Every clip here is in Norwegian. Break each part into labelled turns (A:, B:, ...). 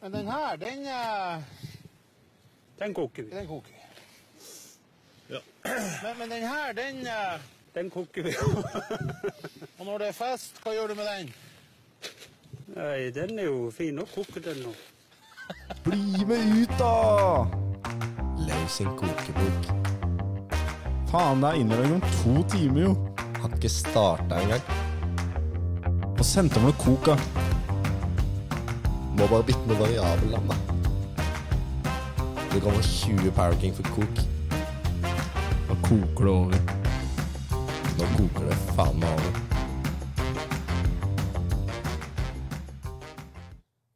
A: Men den her, den, eh,
B: Den koker vi.
A: den koker vi.
B: Ja.
A: Men, men den her, den eh,
B: Den koker vi.
A: Og når det er fest, hva gjør du med den?
B: Nei, den er jo fin å koke den nå.
C: Bli med ut, da! Leis en kokebok. Faen, det er innlevering om to timer, jo. Har ikke starta engang. Og sendte meg noe coca.
D: Må bare bytte med variabel navn, da. Det kommer 20 Power King for kok.
C: Da koker det over.
D: Nå koker det faen meg over.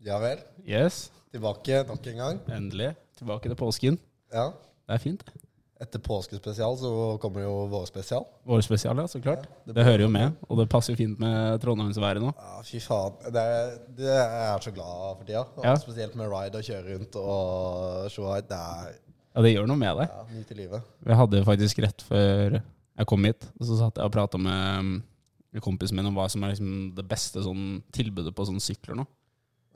D: Ja vel.
C: Yes,
D: Tilbake nok en gang.
C: endelig. Tilbake til påsken.
D: Ja.
C: Det er fint, det.
D: Etter påskespesial så kommer jo vårspesial.
C: Vårspesial, ja, så klart.
D: det
C: det, hører jo med, og det passer jo fint med trondheimsværet nå.
D: Ja, fy faen. Det er, det er jeg er så glad for tida. Og
C: Ja.
D: Spesielt med ride og kjøre rundt og se her. Det er
C: Ja, det gjør noe med deg.
D: ja, nytt i livet.
C: Vi hadde faktisk rett før jeg kom hit, og så satt jeg og prata med um, en kompis min om hva som er liksom det beste sånn, tilbudet på sånne sykler nå.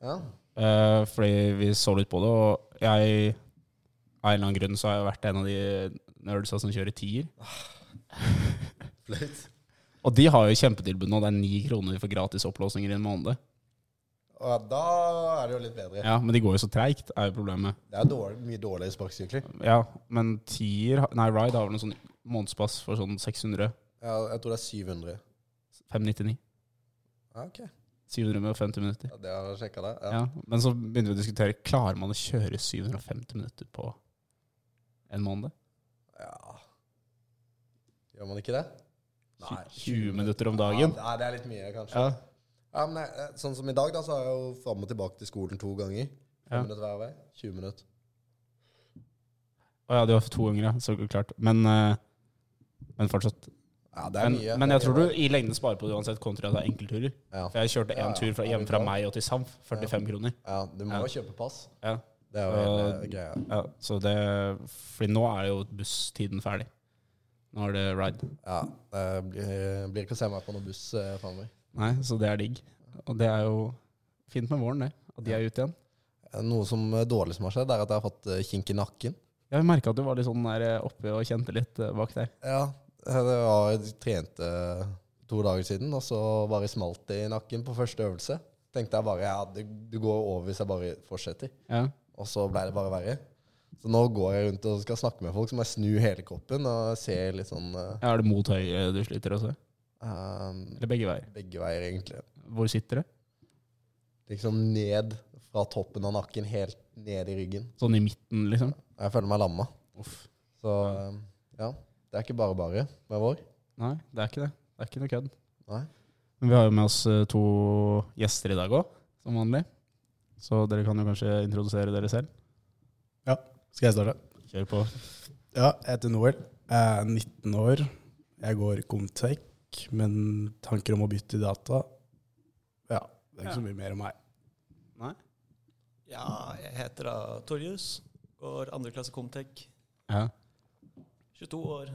D: Ja.
C: Eh, fordi vi så litt på det, og jeg av en eller annen grunn så har jeg vært en av de nerdsa som kjører tier.
D: Flaut.
C: Og de har jo kjempetilbud nå. Det er ni kroner for gratis opplåsninger i en måned.
D: Og ja, da er det jo litt bedre.
C: Ja, Men de går jo så treigt, er jo problemet.
D: Det er dårlig, mye dårligere sparkesykler.
C: Ja, Men tier Nei, Ride har vel en sånn månedspass for sånn 600.
D: Ja, jeg tror det er 700.
C: 599.
D: Ja, Ah, ok.
C: 700 med 50 minutter.
D: Ja, det har jeg sjekka der. Ja.
C: Ja, men så begynte vi å diskutere Klarer man å kjøre 750 minutter på en måned?
D: ja. Gjør man ikke det?
C: Tju- 20 minutter om dagen?
D: Ah, Ja, nei, det er litt mye, kanskje.
C: Ja.
D: Ja, men eh, Sånn som i dag, da, så er jeg jo fram og tilbake til skolen to ganger. Fem
C: Ja.
D: minutter hver vei. 20 minutter.
C: Å ja, du har to unger, ja. Så klart. Men, eh, men fortsatt.
D: Ja, det er
C: Men,
D: mye.
C: men jeg
D: Det er
C: tror du i lengden sparer på det uansett, kontra at det er enkeltturer.
D: Ja.
C: For jeg kjørte
D: Ja,
C: én
D: ja.
C: tur fra,
D: Ja,
C: hjem
D: men
C: fra
D: da-
C: meg og til Samf. 45 kroner.
D: Ja, du må
C: Ja.
D: jo kjøpe pass.
C: Ja.
D: Det er jo
C: Så-
D: hele greia.
C: ja, så det Fordi nå er jo busstiden ferdig. Nå er det ride.
D: Ja, det blir, blir ikke å se meg på noen buss eh, framover.
C: Nei, så det er digg. Og det er jo fint med våren, det. At de er ute igjen.
D: Eh, Noe som eh, dårlig som har skjedd, er at jeg har fått eh, kink i nakken.
C: Jeg merka at du var litt sånn der eh, oppe og kjente litt eh, bak der.
D: Ja, eh, det var jeg trente to dager siden, og så bare smalt det i nakken på første øvelse. Tenkte jeg bare ja, det, det går over hvis jeg bare fortsetter.
C: Ja.
D: Og så ble det bare verre. Så nå går jeg rundt og skal snakke med folk, så må jeg snu hele kroppen og se litt sånn eh,
C: Ja, Er det mot høyre du sliter også?
D: ehm,
C: Eller begge veier?
D: begge veier, egentlig.
C: Hvor sitter det?
D: Liksom ned fra toppen av nakken, helt ned i ryggen.
C: Sånn i midten, liksom?
D: Jeg føler meg lamma.
C: Uff.
D: Så eh, ja, det er ikke bare bare med vår.
C: Nei, det er ikke det. Det er ikke noe kødd.
D: Nei.
C: Men vi har jo med oss eh, to gjester i dag òg, som vanlig. Så dere kan jo kanskje introdusere dere selv.
E: Skal jeg starte?
C: Kjør på.
E: Ja, jeg heter Noel. Jeg er 19 år. Jeg går Comtech, men tanker om å bytte i data Ja, det er ikke så mye mer om meg.
F: Ja, jeg heter da Torjus. Går andre klasse Comtec.
C: Ja.
F: 22 år.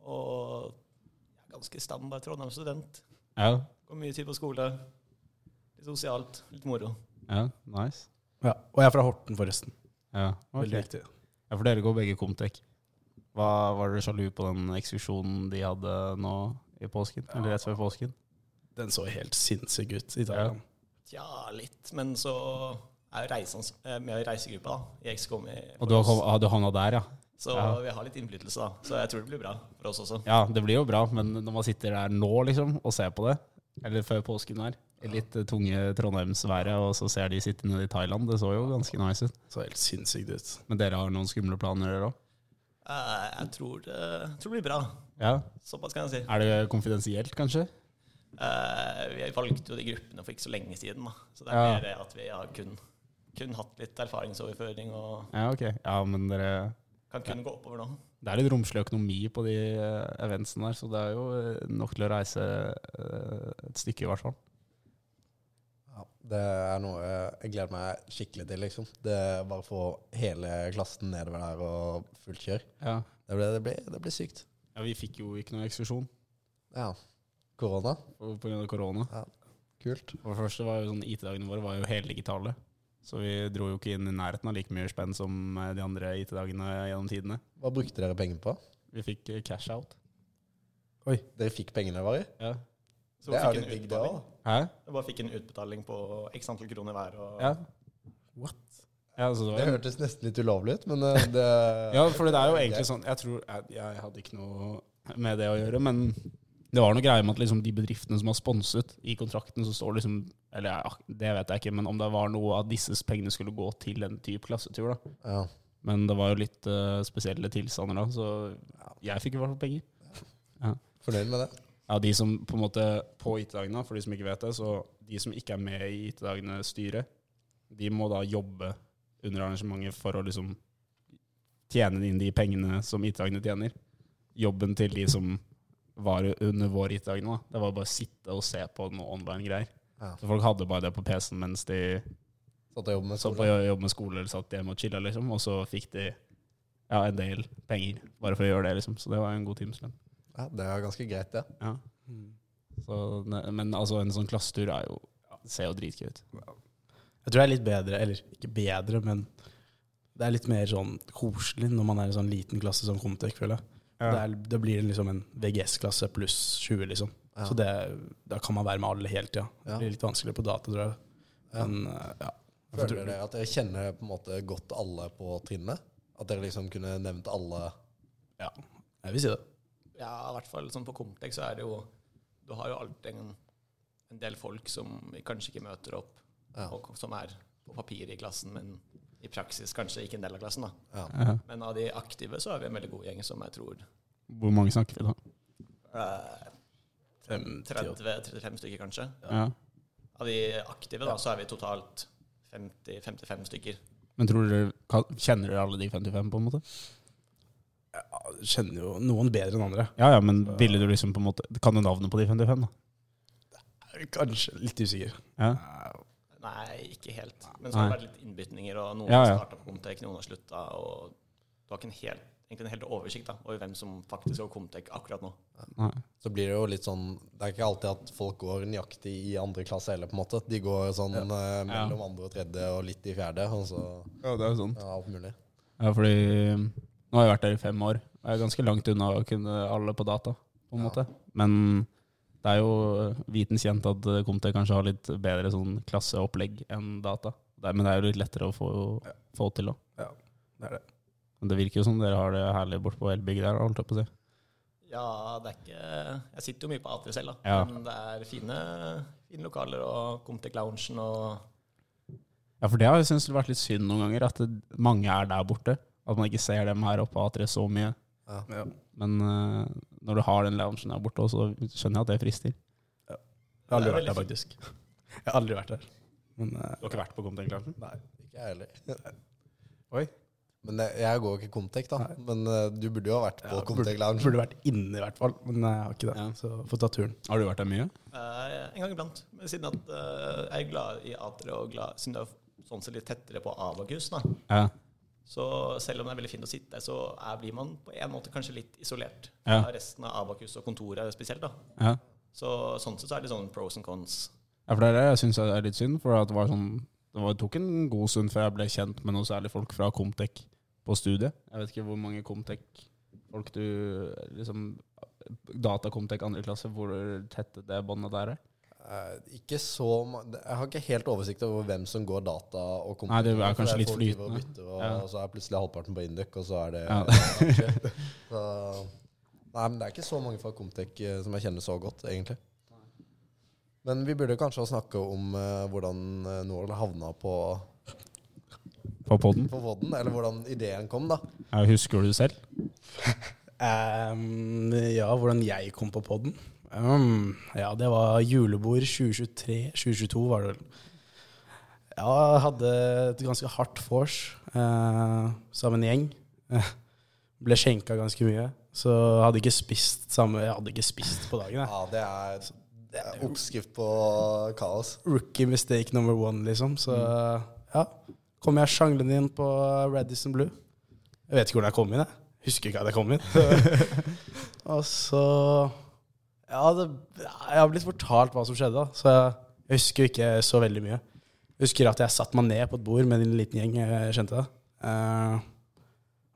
F: Og jeg er ganske standard Trondheim-student.
C: Ja.
F: Går mye tid på skole. Litt sosialt. Litt moro.
C: ja. Nice.
E: Ja, og jeg er fra Horten, forresten.
C: Ja,
E: Veldig
C: ok.
E: viktig.
C: ja for dere går begge Comtec. Hva Var dere sjalu på den ekskursjonen de hadde nå i påsken? Eller rett før påsken?
E: Den så helt sinnssyk ut i Thailand.
F: Tja, litt. Men så er jo reisans, eh, med i reisegruppa da, i XCOM. i-
C: Og du har, kom- ah, du havna der, ja?
F: Så
C: ja.
F: vi har litt innflytelse, da. Så jeg tror det blir bra for oss også.
C: Ja, det blir jo bra, men når man sitter der nå liksom, og ser på det, eller før påsken her, i litt eh, tunge Trondheimsværet, og så ser de sitte nede i Thailand, det så jo ganske nice ut.
E: Så helt sinnssykt ut.
C: Men dere har noen skumle planer dere òg?
F: Eh, Jeg tror det, tror det blir bra.
C: Ja.
F: Såpass kan jeg si.
C: Er det konfidensielt, kanskje?
F: Eh, vi valgte jo de gruppene for ikke så lenge siden, da. Så det er
C: Ja.
F: mer det at vi har kun, kun hatt litt erfaringsoverføring og
C: Ja, ok. Ja, men dere
F: kan kun gå oppover nå.
C: Det er litt romslig økonomi på de eh, eventsene der, så det er jo eh, nok til å reise eh, et stykke, i hvert fall.
D: Ja, det er noe jeg gleder meg skikkelig til, liksom. Det er Bare få hele klassen nedover der og fullt kjør.
C: Ja.
D: Det blir, det blir, det blir sykt.
C: ja vi fikk jo ikke noen eksklusjon
D: Ja. Korona.
C: pga. korona.
D: Kult.
C: For det første var jo sånn IT-dagene våre var jo heldigitale. Så vi dro jo ikke inn i nærheten av like mye spenn som eh, de andre IT-dagene gjennom tidene.
D: Hva brukte dere penger på?
C: Vi fikk eh, cash out.
D: Dere fikk pengene dere?
C: Ja.
F: Så
D: Det
F: vi
D: er
F: fikk
D: litt
F: en
D: digg, det
F: utbetaling.
D: òg.
C: Hæ?
F: Jeg bare fikk en utbetaling på x antall kroner hver. Og
C: Ja.
G: What?
C: Ja, så det
D: Det
C: var en
D: hørtes nesten litt ulovlig ut, men eh, det
C: Ja, for det er jo egentlig sånn Jeg tror jeg, jeg hadde ikke noe med det å gjøre, men det var noe greier med at liksom de bedriftene som har sponset, i kontrakten så står liksom Eller jeg- det vet jeg ikke, men om det var noe at disse pengene skulle gå til en type klassetur, da.
D: Ja.
C: Men det var jo litt eh, spesielle tilstander da, så jeg fikk i hvert fall penger.
D: Fornøyd med det?
C: Ja, de som på en måte på IT-dagene, for de som ikke vet det, så de som ikke er med i IT-dagene styret, de må da jobbe under arrangementet for å liksom tjene inn de pengene som IT-dagene tjener. Jobben til de som var under vår IT-dagene, da. Det var bare å sitte og se på noe online-greier.
D: Ja.
C: Så folk hadde bare det på PC-en mens de
D: Satt og jobbet med
C: så på
D: skolen.
C: jobb med skole eller satt hjemme og chilla, liksom. Og så fikk de ja, en del penger bare for å gjøre det, liksom. Så det var en god timeslønn.
D: Ja, det er ganske greit, det.
C: Ja. Så, ne- men altså, en sånn klassetur er jo, ser jo dritgøy ut.
G: Jeg tror det er litt bedre, eller ikke bedre, men det er litt mer sånn koselig når man er en sånn liten klasse som Comtec, føler jeg. Det, er, det blir det liksom en VGS-klasse pluss 20, liksom.
D: Ja.
G: Så det, da kan man være med alle hele tida.
D: Ja.
G: Det blir litt vanskeligere på data, tror jeg.
D: Ja.
G: Men eh, ja.
D: Føler dere at dere kjenner på en måte godt alle på trinnet? At dere liksom kunne nevnt alle
G: ja, jeg vil si det.
F: Ja, i hvert fall sånn på Comtec så er det jo Du har jo alltid en, en del folk som vi kanskje ikke møter opp,
D: Ja.
F: og som er på papiret i klassen, men i praksis kanskje ikke en del av klassen. da. Men av de aktive så er vi en veldig god gjeng, som jeg tror
C: Hvor mange snakker vi da?
F: eh, 30-35 stykker, kanskje.
C: Ja.
F: Av de aktive da, så er vi totalt 50, 55 stykker.
C: Men tror dere, kan- kjenner dere alle de 55 på en måte?
G: Ja, du kjenner jo noen bedre enn andre.
C: Ja, ja, men ville du liksom på en måte, kan du navnet på de 55 da?
G: Kanskje litt usikker.
C: Ja.
F: Nei, ikke helt. Men så har det vært litt innbytninger, og noen
C: Ja,
F: har
C: ja.
F: starta på Comtec, noen har slutta. Og du har ikke en helt, egentlig en helt oversikt da, over hvem som faktisk går Comtec akkurat nå.
C: Nei.
D: så blir det jo litt sånn Det er ikke alltid at folk går nøyaktig i andre klasse heller, på en måte. De går sånn eh, mellom andre og tredje og litt i fjerde, og så
C: Ja, det er jo sånn.
D: ja, alt mulig.
C: Ja, fordi um, nå har jeg vært der i fem år, og jeg er ganske langt unna å kunne alle på data, på en måte. Men det er jo uh, viten kjent at Comte kanskje har litt bedre sånn klasseopplegg enn data. Det er- Men det er jo litt lettere å få, få til da.
G: Ja, det er det.
C: Men det virker jo som dere har det herlig bort på Elbygg der, holdt jeg på å si.
F: Ja, det er ikke Jeg sitter jo mye på A3 selv, da.
C: Ja.
F: Men det er fine, fine lokaler og Comtec-loungen og
C: Ja, for det har jeg syntes vært litt synd noen ganger, at det, mange er der borte. At man ikke ser dem her oppe på A3 så mye.
G: Ja.
C: Men eh, når du har den loungen der borte, også, så skjønner jeg at det frister.
G: Jeg har
F: Det
G: aldri
F: er
G: vært der, faktisk. Jeg har aldri vært der. Men eh,
C: Du har ikke vært på Comtec-loungen?
G: nei.
D: Ikke jeg heller.
G: Oi.
D: Men eh, jeg går ikke Comtec, da. Men eh, du burde jo ha vært på Comtec Lounge.
G: Burde vært inne, i hvert fall. Men eh, jeg har ikke det.
C: Ja.
G: Så får ta turen.
C: Har du vært der mye?
F: eh, En gang iblant. Men siden at eh, jeg er glad i A3 og glad, siden det er sånn sett litt tettere på Abakus, da.
C: Ja.
F: Så selv om det er veldig fint å sitte, så er, blir man på en måte kanskje litt isolert
C: Ja.
F: fra resten av Abakus og kontoret spesielt. da.
C: ja.
F: Så sånn sett så er det sånn pros and cons.
C: Ja, for det er det jeg syns er litt synd. For at det, var sånn, det var, tok en god stund før jeg ble kjent med noe særlig folk fra Comtec på studiet. Jeg vet ikke hvor mange Comtec-folk du liksom, Data-Comtec andre klasse, hvor tette det båndet der er.
D: Eh, Ikke så ma- Jeg har ikke helt oversikt over hvem som går data og Comtec.
C: Nei, det er
D: For
C: kanskje litt
D: folk driver og
C: flytende.
D: bytter, og,
C: Ja.
D: og så er plutselig halvparten på Induc, og så er det
C: Ja.
D: så, Nei, men det er ikke så mange fra Comtec eh, som jeg kjenner så godt, egentlig. Men vi burde kanskje snakke om eh, hvordan uh, Norl havna på,
C: På poden?
D: på Vodden, eller hvordan ideen kom, da.
C: Husker du det selv?
G: Ehm, ja, hvordan jeg kom på podden? Ehm, ja, det var julebord 2023-2022 var det vel. Ja, jeg hadde et ganske hardt vors eh, sammen med en gjeng. Eh, ble skjenka ganske mye. Så jeg hadde ikke spist samme Jeg hadde ikke spist på dagen. Jeg.
D: Ja, det er, det er oppskrift på kaos.
G: Rookie mistake number one, liksom. Så ja. Kom jeg sjanglende inn på Radisson Blue. Jeg vet ikke hvordan jeg kom inn, jeg. Husker ikke at jeg kom inn. og så Ja, det, jeg har blitt fortalt hva som skjedde, da. Så jeg, jeg husker ikke så veldig mye. Husker at jeg satt meg ned på et bord med en liten gjeng jeg kjente. da. Eh,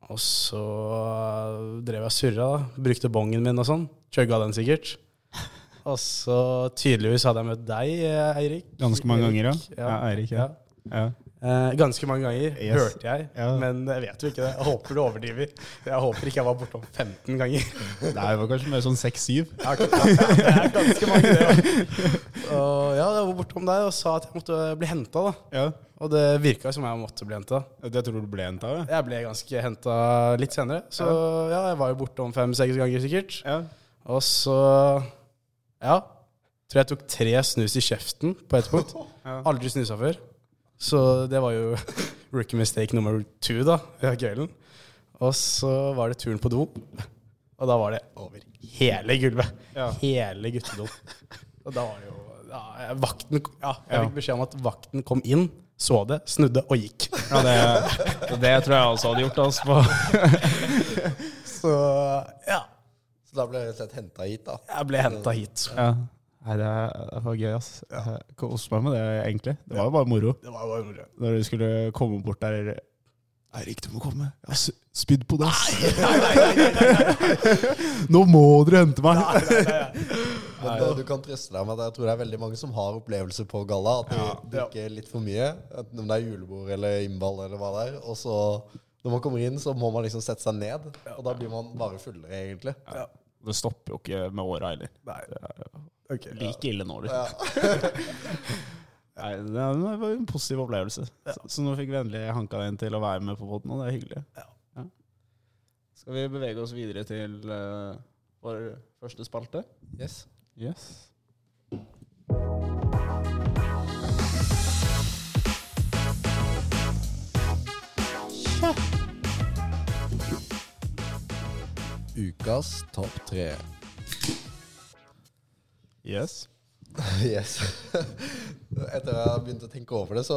G: og så drev jeg og surra. da. Brukte bongen min og sånn. Chugga den sikkert. Og så tydeligvis hadde jeg møtt deg, eh, Eirik.
C: Ganske mange ganger, ja.
G: Ja.
C: ja Eirik, ja. ja.
G: Eh, ganske mange ganger,
C: Yes.
G: hørte jeg.
C: Ja.
G: Men jeg vet jo ikke det. Jeg håper du overdriver. Jeg håper ikke jeg var bortom 15 ganger.
C: Det var kanskje mer sånn seks-syv.
G: Jeg har ikke- Det er ganske mange, det. da. Og ja, jeg var bortom deg og sa at jeg måtte bli henta, da.
C: Ja.
G: Og det virka som jeg måtte bli henta.
C: Det tror du ble en av, ja.
G: Jeg ble ganske henta litt senere, så ja, jeg var jo bortom fem-seks ganger sikkert.
C: ja.
G: Og så Ja. Tror jeg tok tre snus i kjeften på et punkt. Aldri snusa før. Så det var jo rookie mistake nummer two da, i kvelden. Og så var det turen på do, og da var det over hele gulvet.
C: Ja.
G: Hele guttedoen. Og da var det jo ja, vakten, ja, Jeg fikk beskjed om at vakten kom inn, så det, snudde og gikk.
C: ja det, det tror jeg også hadde gjort. Altså, på.
G: Så ja,
D: Så da ble jeg rett og slett henta hit, da.
G: jeg ble henta hit.
C: Ja. Nei, det, er- det var gøy, ass. Jeg koste meg med det, egentlig. Det var jo bare moro.
G: Det var bare moro.
C: Når du skulle komme bort der Eirik, du må komme. Jeg har s- spydd på deg, ass. Nå må dere hente meg!
D: Men eh, du kan trøste deg med at jeg tror det er veldig mange som har opplevelser på galla. At de drikker litt for mye, enten om det er julebord eller innball eller hva det er. Og så, når man kommer inn, så må man liksom sette seg ned. Og da blir man bare fullere, egentlig.
C: Det stopper jo ikke med åra heller.
G: Nei.
C: Det er jo
G: Ok.
C: like ille nå, liksom. Nei, det er- det var jo en positiv opplevelse. Så, så nå fikk vi endelig hanka den til å være med på båten, og det er hyggelig. Ja. Skal vi bevege oss videre til eh, vår første spalte?
D: Yes.
C: Yes.
D: Ukas topp tre.
C: Yes.
D: Yes. Etter jeg har begynt å tenke over det, så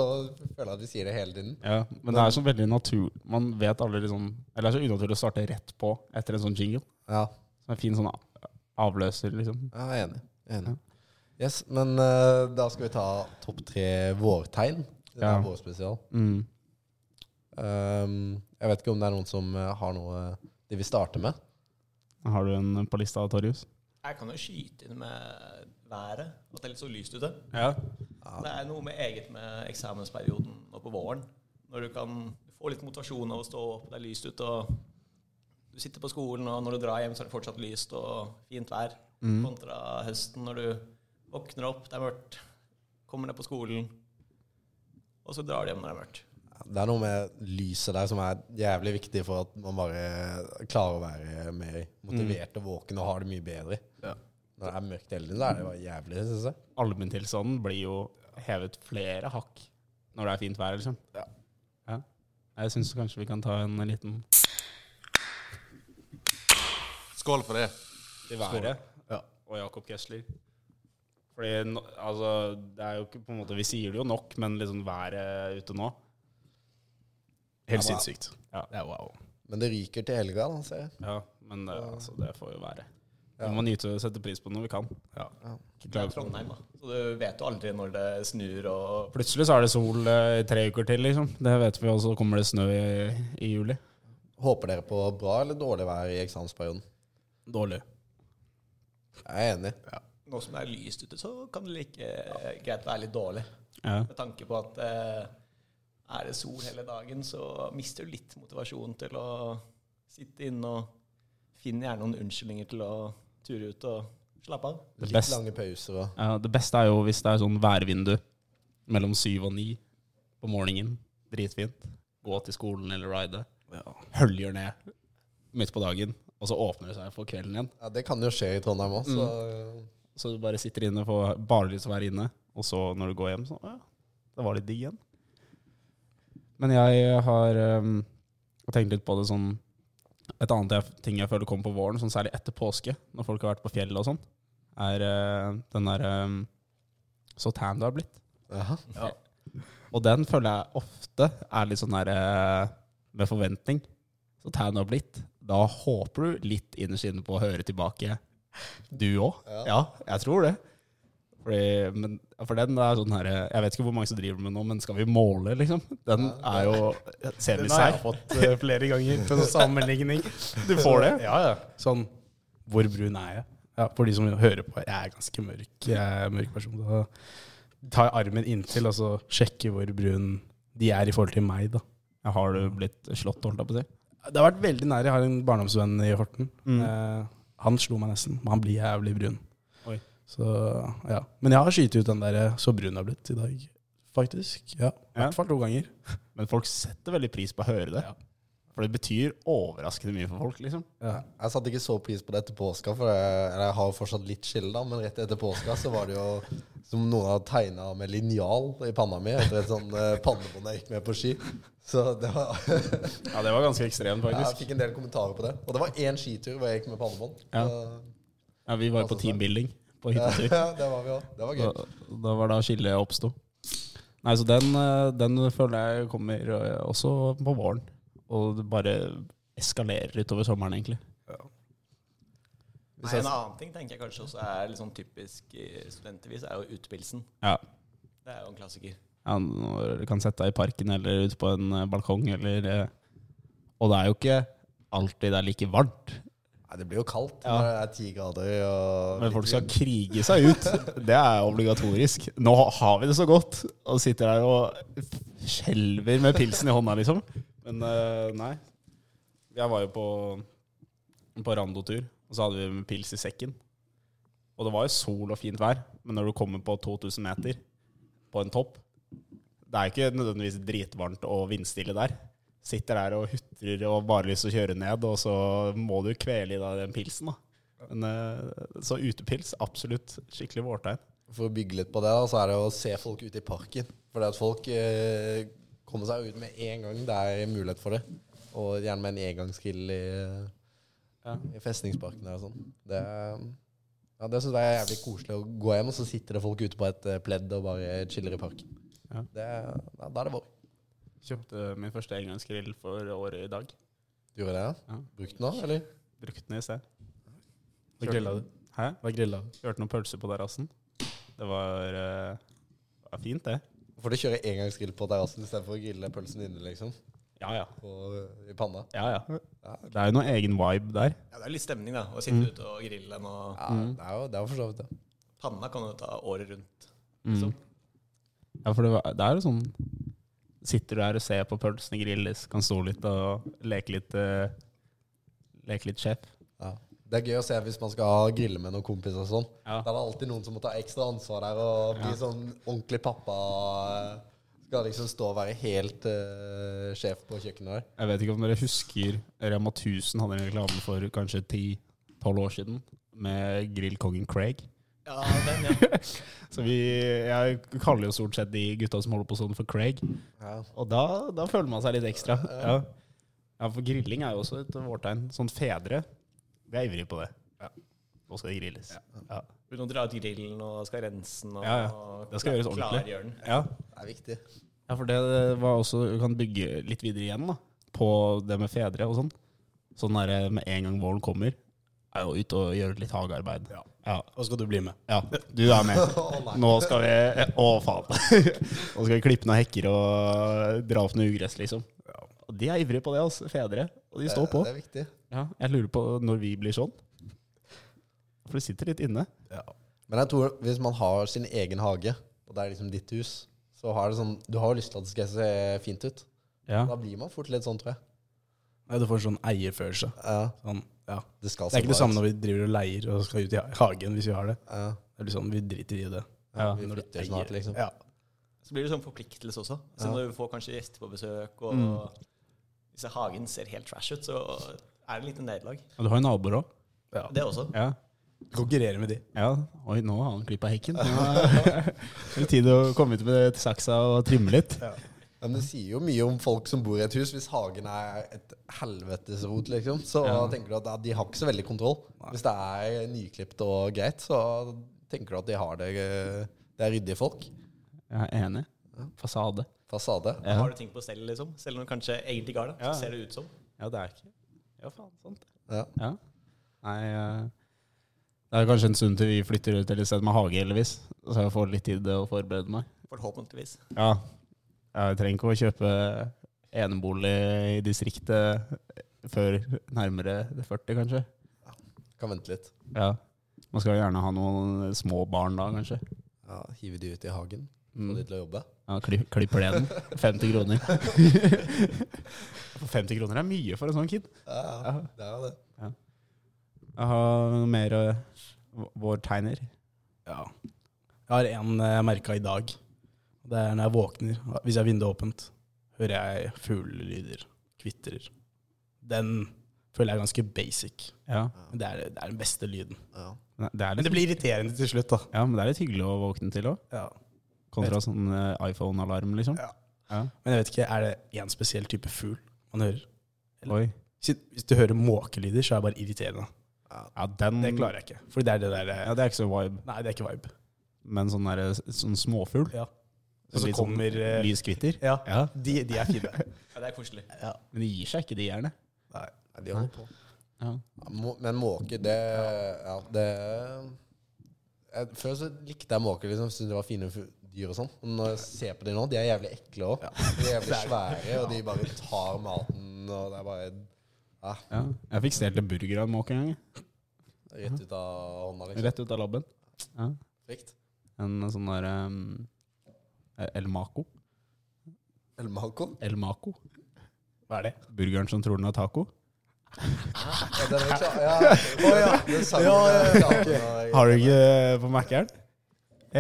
D: føler jeg at vi sier det hele tiden.
C: Ja, men det er så veldig naturlig Man vet aldri liksom Eller det er så unaturlig å starte rett på etter en sånn jingle.
D: Ja,
C: Så det er en fin sånn a- avløser, liksom.
D: jeg er enig. Jeg er enig. Yes, Men eh, da skal vi ta topp tre vårtegn. Det er
C: Ja.
D: vårspesial.
C: Mm.
D: Ehm, jeg vet ikke om det er noen som eh, har noe de vil starte med.
C: Har du en på lista, Torjus?
F: Jeg kan jo skyte inn med været, at det er litt så lyst ute.
C: Ja.
F: Det er noe med eget med eksamensperioden nå på våren. Når du kan få litt motivasjon av å stå opp, det er lyst ute, og du sitter på skolen, og når du drar hjem, så er det fortsatt lyst og fint vær. Kontra høsten, når du våkner opp, det er mørkt, kommer ned på skolen, og så drar du hjem når det er mørkt.
D: Det er noe med lyset der som er jævlig viktig for at man bare klarer å være mer motivert og våken og har det mye bedre. Når det er mørkt hele tiden, da er det bare jævlig, syns jeg.
C: Allmenntilstanden blir jo hevet flere hakk når det er fint vær, liksom. Ja. Jeg syns kanskje vi kan ta en liten
A: Skål for det.
C: til været. Og Jakob Kessler. Fordi nå- altså, det er jo ikke på en måte Vi sier det jo nok, men liksom været ute nå
G: Helt sinnssykt.
C: Ja.
G: Det er wow.
D: Men det ryker til helga, da, ser jeg.
C: Ja, men det, altså, det får jo være. Vi må nyte å sette pris på det når vi kan. Ikke
F: Det er
C: klage på det.
F: Trondheim, da. Så du vet jo aldri når det snur og
C: Plutselig så er det sol eh, i tre uker til, liksom. Det vet vi, og så kommer det snø i, i juli.
D: Håper dere på bra eller dårlig vær i eksamensperioden?
G: Dårlig.
D: Jeg er enig.
F: Nå som det er lyst ute, så kan det like eh, greit være litt dårlig.
C: Ja.
F: Med tanke på at eh, er det sol hele dagen, så mister du litt motivasjon til å sitte inne og finne gjerne noen unnskyldninger til å ture ut og slappe av.
C: Det,
D: Litt
C: best,
D: lange pauser og
C: ja, det beste er jo hvis det er sånn værvindu mellom syv og ni på morgenen. Dritfint. Gå til skolen eller ride. Høljer ned midt på dagen, og så åpner det seg for kvelden igjen.
D: ja, Det kan jo skje i Trondheim òg, så
C: Så du bare sitter inne, får bare lyst til å være inne. Og så når du går hjem, så ja, det var litt digg igjen. Men jeg har um, tenkt litt på det sånn Et annet jeg, ting jeg føler kommer på våren, sånn særlig etter påske, når folk har vært på fjellet og sånn, er eh, den derre Så tan du har blitt.
D: Jaha.
C: Og den føler jeg ofte er litt sånn der eh, med forventning. Så tan du har blitt, da håper du litt innerst inne på å høre tilbake, du òg. Ja. jeg tror det. Fordi, men, ja, for den er sånn her Jeg vet ikke hvor mange som driver med nå, men skal vi måle, liksom? Den er jo semisær.
G: fått eh, flere ganger
C: sånn
G: på en sammenligning.
C: Du får det?
G: Ja, ja. Sånn Hvor brun er jeg? Ja, for de som hører på, jeg er ganske mørk. Jeg er en mørk person. Da tar jeg armen inntil og så sjekker hvor brun de er i forhold til meg, da.
C: Har du blitt slått, holdt jeg på å si? Mm.
G: Det har vært veldig nær. Jeg har en barndomsvenn i Horten. Eh, han slo meg nesten, men han blir jævlig brun.
C: Oi.
G: Så, ja. Men jeg har skytt ut den der eh, 'så brun jeg har blitt' i dag, faktisk. Ja, I
C: Ja.
G: hvert fall to ganger.
C: Men folk setter veldig pris på å høre det.
G: Ja.
C: For det betyr overraskende mye for folk, liksom.
G: Ja.
D: Jeg satte ikke så pris på det etter påska, for jeg, eller jeg har jo fortsatt litt skille, da, men rett etter påska så var det jo som noen hadde tegna med linjal i panna mi etter et sånn eh, pannebånd jeg gikk med på ski. Så det var
C: Ja, det var ganske ekstremt,
D: Jeg
C: faktisk.
D: fikk en del kommentarer på det. Og det var én skitur hvor jeg gikk med pannebånd.
C: Ja.
D: Så-
C: Ja, vi var jo på
D: Altså,
C: teambuilding på
D: Ja,
C: hyttetur.
D: det var vi òg. Det var gøy.
C: Da, da var da skillet oppsto. Nei, så den, eh, den føler jeg kommer eh, også på våren. Og det bare eskalerer utover sommeren, egentlig.
F: Nei, en annen ting tenker jeg kanskje også er litt sånn typisk i studentervis, er jo utepilsen.
C: Ja.
F: Det er jo en klassiker.
C: Ja, når du kan sette deg i parken eller ute på en eh, balkong eller eh, Og det er jo ikke alltid det er like varmt.
D: Nei, det blir jo kaldt når det er ti grader. Og
C: Men folk skal krige seg ut. Det er obligatorisk. Nå har vi det så godt, og sitter der og skjelver med pilsen i hånda, liksom. Men eh, nei. Jeg var jo på, på randotur, og så hadde vi med pils i sekken. Og det var jo sol og fint vær, men når du kommer på 2000 meter på en topp Det er jo ikke nødvendigvis dritvarmt og vindstille der. Sitter der og hutrer og bare lyst til å kjøre ned, og så må du kvele i deg den pilsen, da. Men, eh, så utepils, absolutt skikkelig vårtegn.
D: For å bygge litt på det, da, så er det å se folk ute i parken. Fordi at folk eh, kommer seg ut med en gang det er mulighet for det. Og gjerne med en engangsgrill i, i festningsparken der og sånn. Det, er- ja, det syns jeg er jævlig koselig å gå hjem, og så sitter det folk ute på et eh, pledd og bare chiller i parken.
C: Ja.
D: Det, er- ja, da er det vår.
C: Kjøpte min første engangsgrill for året i dag.
D: Du gjorde det, ja?
C: Ja.
D: Brukt den òg, eller?
C: Brukte den i sted.
G: Hva grilla du?
C: Hæ?
G: Hva grilla du?
C: Kjørte noen pølser på terrassen. Det var, eh, det var fint, det.
D: Får du kjøre engangsgrill på terrassen istedenfor å grille pølsen inne, liksom?
C: Ja ja.
D: På, I panna.
C: ja, ja. Det er jo noen egen vibe der.
F: Ja, det er litt stemning, da. Å sitte
C: Mm.
F: ute og grille den, og
D: Ja, det er jo det er jo for så vidt det.
F: panna kan du ta året rundt.
C: Mm. Ja, for det, var, det er jo sånn Sitter du her og ser på pølsene grilles, kan stå litt og leke litt eh, Leke litt sjef.
D: Ja. Det er gøy å se hvis man skal grille med noen kompiser og sånn.
C: Ja.
D: Da er det alltid noen som må ta ekstra ansvar der og bli sånn ordentlig pappa. Skal liksom stå og være helt eh, sjef på kjøkkenet der.
C: Jeg vet ikke om dere husker Rema 1000 hadde en reklame for kanskje 10-12 år siden med grillkongen Craig.
F: Ja, den, ja.
C: Så vi, Jeg kaller jo stort sett de gutta som holder på sånn, for Craig.
D: Ja.
C: Og da, da føler man seg litt ekstra. Ja. ja, for grilling er jo også et vårtegn. Sånn fedre Vi er ivrige på det. Nå skal det grilles. Ja.
F: Begynner å dra ut grillen og skal rense den og
C: Ja, ja. Det skal gjøres ordentlig.
F: klargjøre den.
C: Ja.
D: Det er viktig.
C: Ja, for det var også Du kan bygge litt videre igjen da på det med fedre og sånn. Sånn der med en gang våren kommer, er jo ute og gjøre litt hagearbeid. Ja. Ja.
G: Og skal du bli med?
C: du er med. Nå skal vi eh, Å, faen. Nå skal vi klippe noen hekker og dra opp noe ugress, liksom. Og de er ivrige på det, altså. Fedre. Og de står på.
D: Det er viktig.
C: Ja, jeg lurer på når vi blir sånn. For det sitter litt inne.
D: Men jeg tror hvis man har sin egen hage, og det er liksom ditt hus, så har det sånn Du har jo lyst til at det skal se fint ut.
C: Ja.
D: Da blir man fort litt sånn, tror jeg.
G: Nei, du får en sånn eierfølelse.
D: Ja,
G: Sånn, ja.
D: det skal
G: Det er ikke det samme
D: ut.
G: når vi driver og leier og skal ut i ha- hagen hvis vi har det.
D: Ja,
G: Det blir sånn, Vi driter i det.
C: Ja.
D: vi
G: Når du
D: flytter snart,
G: eier.
D: liksom.
G: Ja.
F: Så blir det sånn forpliktelse også. Så
D: Ja.
F: når du får kanskje gjester på besøk, og hvis hagen ser helt trash ut, så er det en liten nederlag.
C: Og du har jo naboer òg.
G: ja.
F: Det også.
C: Ja.
G: Konkurrere med de.
C: ja. Oi, nå har han klippa hekken. Nå er det tid å komme ut med saksa og trimme litt.
D: Ja, Men det sier jo mye om folk som bor i et hus. Hvis hagen er et helvetes rot, liksom, så tenker du at ja, de har ikke så veldig kontroll. Hvis det er nyklipt og greit, så tenker du at de har det eh, Det er ryddige folk.
C: Jeg er enig. Fasade.
D: Fasade.
C: Ja.
F: Har du ting på stell, liksom? Selv om du kanskje egentlig ikke har det, så
C: Ja.
F: ser det ut som.
C: Ja, det er ikke Ja, faen. Sant.
D: Ja.
C: Ja. Nei, eh, Det er kanskje en stund til vi flytter ut til et sted med hage, heldigvis. Så jeg får litt tid til å forberede meg.
F: Forhåpentligvis.
C: Ja. Jeg trenger ikke å kjøpe enebolig i distriktet før nærmere 40, kanskje.
D: Kan vente litt.
C: Ja. Man skal jo gjerne ha noen små barn da, kanskje.
D: Ja, Hive de ut i hagen, få
C: Mm.
D: de til å jobbe.
C: Ja, kli- klipp plenen. 50 kroner. For 50 kroner er mye for en sånn kid.
D: Ja, det er det.
C: Jeg har noe mer eh, v- vår tegner.
G: Ja. Jeg har en eh, jeg merka i dag. Det er når jeg våkner. Hvis jeg har vinduet åpent, hører jeg fuglelyder. Kvitrer. Den føler jeg er ganske basic.
C: Ja.
G: Men Det er, det er den beste lyden.
D: Ja.
C: Men Det er
G: Men
C: litt,
G: det blir irriterende til slutt, da.
C: ja, men det er litt hyggelig å våkne til òg.
G: Ja.
C: Kontra sånn eh, iPhone-alarm, liksom.
G: Ja. Men jeg vet ikke, er det én spesiell type fugl man hører?
C: Oi.
G: Si- Hvis du hører måkelyder, så er det bare irriterende.
C: Ja, den
G: Det klarer jeg ikke. For det er det der
C: Ja, det er ikke så vibe.
G: Nei, det er ikke vibe.
C: Men sånn, der, sånn småfugl
G: Ja. Og så
C: Litt sånn
G: kommer eh,
C: Lys kvitter.
G: Ja,
C: Ja.
G: de, de er fine.
F: Ja, det er koselig.
C: Men de gir seg ikke, de gjerne.
D: Nei, de holder på.
C: Ja.
D: Ja, må, men måke, det Ja, det jeg, Før så likte jeg måker. Liksom, Syntes det var fine fu- dyr og sånn. Men når jeg ser på de nå, de er jævlig ekle òg. De er jævlig svære, og de bare tar maten, og det er bare
C: Ja. Jeg fikk stjålet en burger av en måke en gang. jeg.
D: rett ut av hånda, liksom.
C: Rett ut av labben. Ja.
D: Rett.
C: En sånn der um, El Maco.
D: Eller Malcolm.
C: El Maco. Hva er det? Burgeren som tror den er taco.
D: Ja, den er klar. Ja. Å ja. Den sangen der, ja,
C: Har du
G: eh,
C: ikke på Mac-en?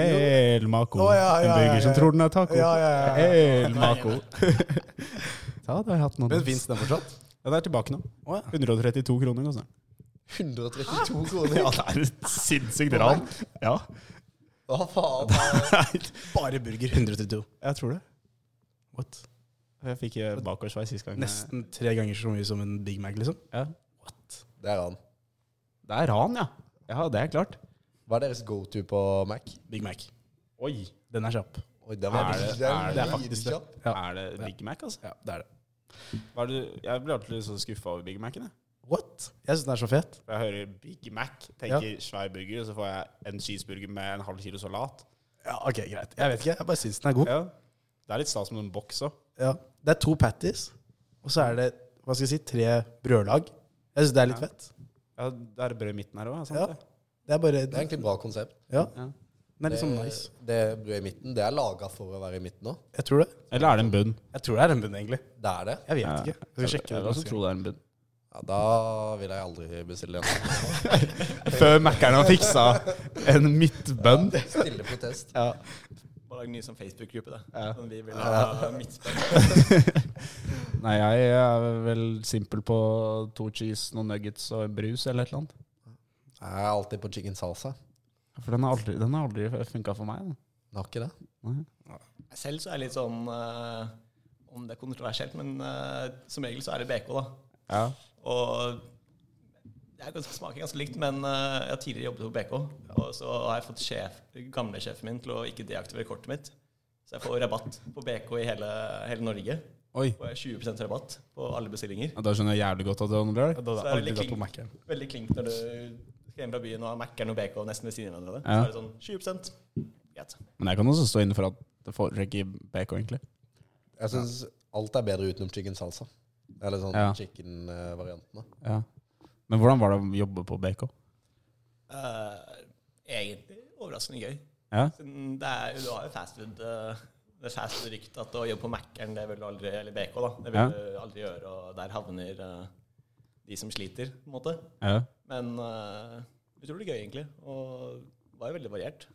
C: El Maco.
G: Å, ja, ja,
C: en burger
G: ja, ja,
C: som
G: ja.
C: tror den er taco.
G: Ja, ja, ja, ja.
C: El Maco. Ja, det har jeg hatt noen.
G: Men fins den fortsatt?
C: Ja, det er tilbake nå. 132 kroner koster den.
D: 132
C: Ja,
D: kroner.
C: det er et sinnssykt ran. Ja.
D: Hva faen?
G: Bare burger 132.
C: Jeg tror det.
G: What?
C: Jeg fikk eh, bakoversveis sist gang.
G: Nesten tre ganger så mye som en Big Mac, liksom.
C: Ja.
D: Det er han.
C: Det er ran, ja. Ja, det er klart.
D: Hva er deres go to på Mac?
G: Big Mac.
C: Oi.
G: Den er kjapp.
D: Oi, den var
C: Er det-
D: den
C: er det
D: var
G: faktisk det?
D: kjapp.
C: Er det Big Mac, altså?
G: Ja, det er det.
C: Hva er det, jeg blir alltid så skuffa over Big Mac-en. jeg.
G: What? Jeg syns den er så fet.
C: For Jeg hører Big Mac, tenker svær burger, og så får jeg en cheeseburger med en halv kilo salat.
G: Ja, ok, greit. Jeg vet ikke, jeg bare syns den er god.
C: Ja. Det er litt stas med en boks òg.
G: Ja. Det er to patties, og så er det hva skal jeg si, tre brødlag. Jeg syns det er litt fett.
C: Ja, det er brød i midten her òg.
G: Ja. Det er bare
D: Det er egentlig et bra konsept.
G: Ja. Den er litt sånn nice.
D: Det brødet i midten, det er laga for å være i midten òg.
G: Jeg tror det.
C: Eller er det en bunn?
G: Jeg tror det er en bunn, egentlig.
D: Det er det.
G: Jeg vet ikke. Skal vi sjekke det?
C: også
G: neste gang?
C: tro det er en bunn.
D: Ja, da vil jeg aldri bestille igjen.
G: Eh.
C: Før Mac-eren har fiksa en midtbønn.
D: Stille protest.
F: Bare lag ny sånn Facebook-gruppe, da. Sånn vi vil ha midtspill.
C: Nei, jeg er vel simpel på to cheese, noen nuggets og en brus eller et eller annet.
D: Jeg er alltid på chicken salsa.
C: For den har aldri, den har aldri funka for meg. Da.
D: Den har ikke det.
F: Selv så er jeg litt sånn eh, Om det er kontroversielt, men eh, som regel så er det BK, da.
C: Ja.
F: Og det er ganske, smaker ganske likt, men eh, jeg har tidligere jobbet på BK. Og så har jeg fått sjef, gamle sjefen min til å ikke deaktivere kortet mitt. Så jeg får rabatt på BK i hele, hele Norge.
C: Oi.
F: Og jeg har 20 rabatt på alle bestillinger.
C: Da skjønner jeg jævlig godt at det handler om det.
G: Da
F: Så er
G: har jeg
F: det
G: aldri
F: litt
G: dratt på
F: klink.
G: Mac-en.
F: Veldig klink når du skal hjem fra byen og har Mac-eren og BK nesten ved siden av hverandre.
C: Ja.
F: Så er det sånn 20 Greit.
C: Men jeg kan også stå inne for at det foretrekker BK, egentlig.
D: Jeg syns alt er bedre utenom chicken salsa. Eller sånn
C: Ja.
D: chicken-variantene.
C: Ja. Men hvordan var det å jobbe på BK?
F: Eh, egentlig overraskende gøy.
C: Ja.
F: Siden det er, du har jo fastfood uh, Det er fastfood-ryktet at å jobbe på Mac-eren, det vil du aldri Eller BK, da. Det vil
C: Ja.
F: du aldri gjøre, og der havner eh, de som sliter, på en måte.
C: Ja.
F: Men eh, utrolig gøy, egentlig. Og det var jo veldig variert.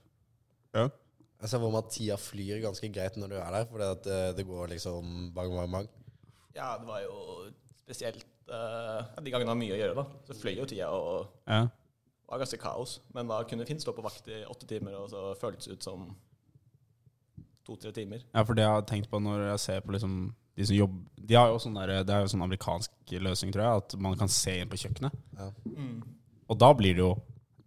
D: Jeg ser for meg at tida flyr ganske greit når du er der, for det, det går liksom bang, bang, bang.
F: Ja, det var jo spesielt eh, De gangene det var mye å gjøre, da, så fløy jo tida og
C: ja.
F: Det var ganske kaos, men da kunne Finn stå på vakt i åtte timer, og så føltes det ut som to-tre timer.
C: ja, for det jeg har tenkt på når jeg ser på liksom de som jobber de har jo sånn der, Det er jo sånn amerikansk løsning, tror jeg, at man kan se inn på kjøkkenet.
D: Ja.
C: Og da blir det jo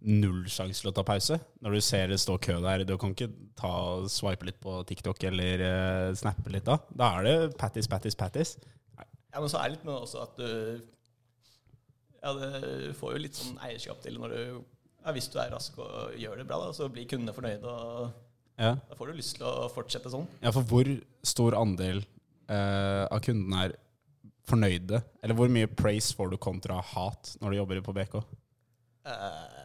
C: null sjanse til å ta pause. Når du ser det stå kø der, du kan ikke ta, swipe litt på TikTok eller eh, snappe litt da. Da er det pattis, pattis, pattis.
F: Ja, Men så er det litt med det også at du Ja, det får jo litt sånn eierskap til når du Ja, hvis du er rask og gjør det bra, da, så blir kundene fornøyde. og
C: Ja.
F: Da får du lyst til å fortsette sånn.
C: ja, for hvor stor andel eh, av kundene er fornøyde? Eller hvor mye praise får du kontra hat når du jobber på BK?
F: Eh,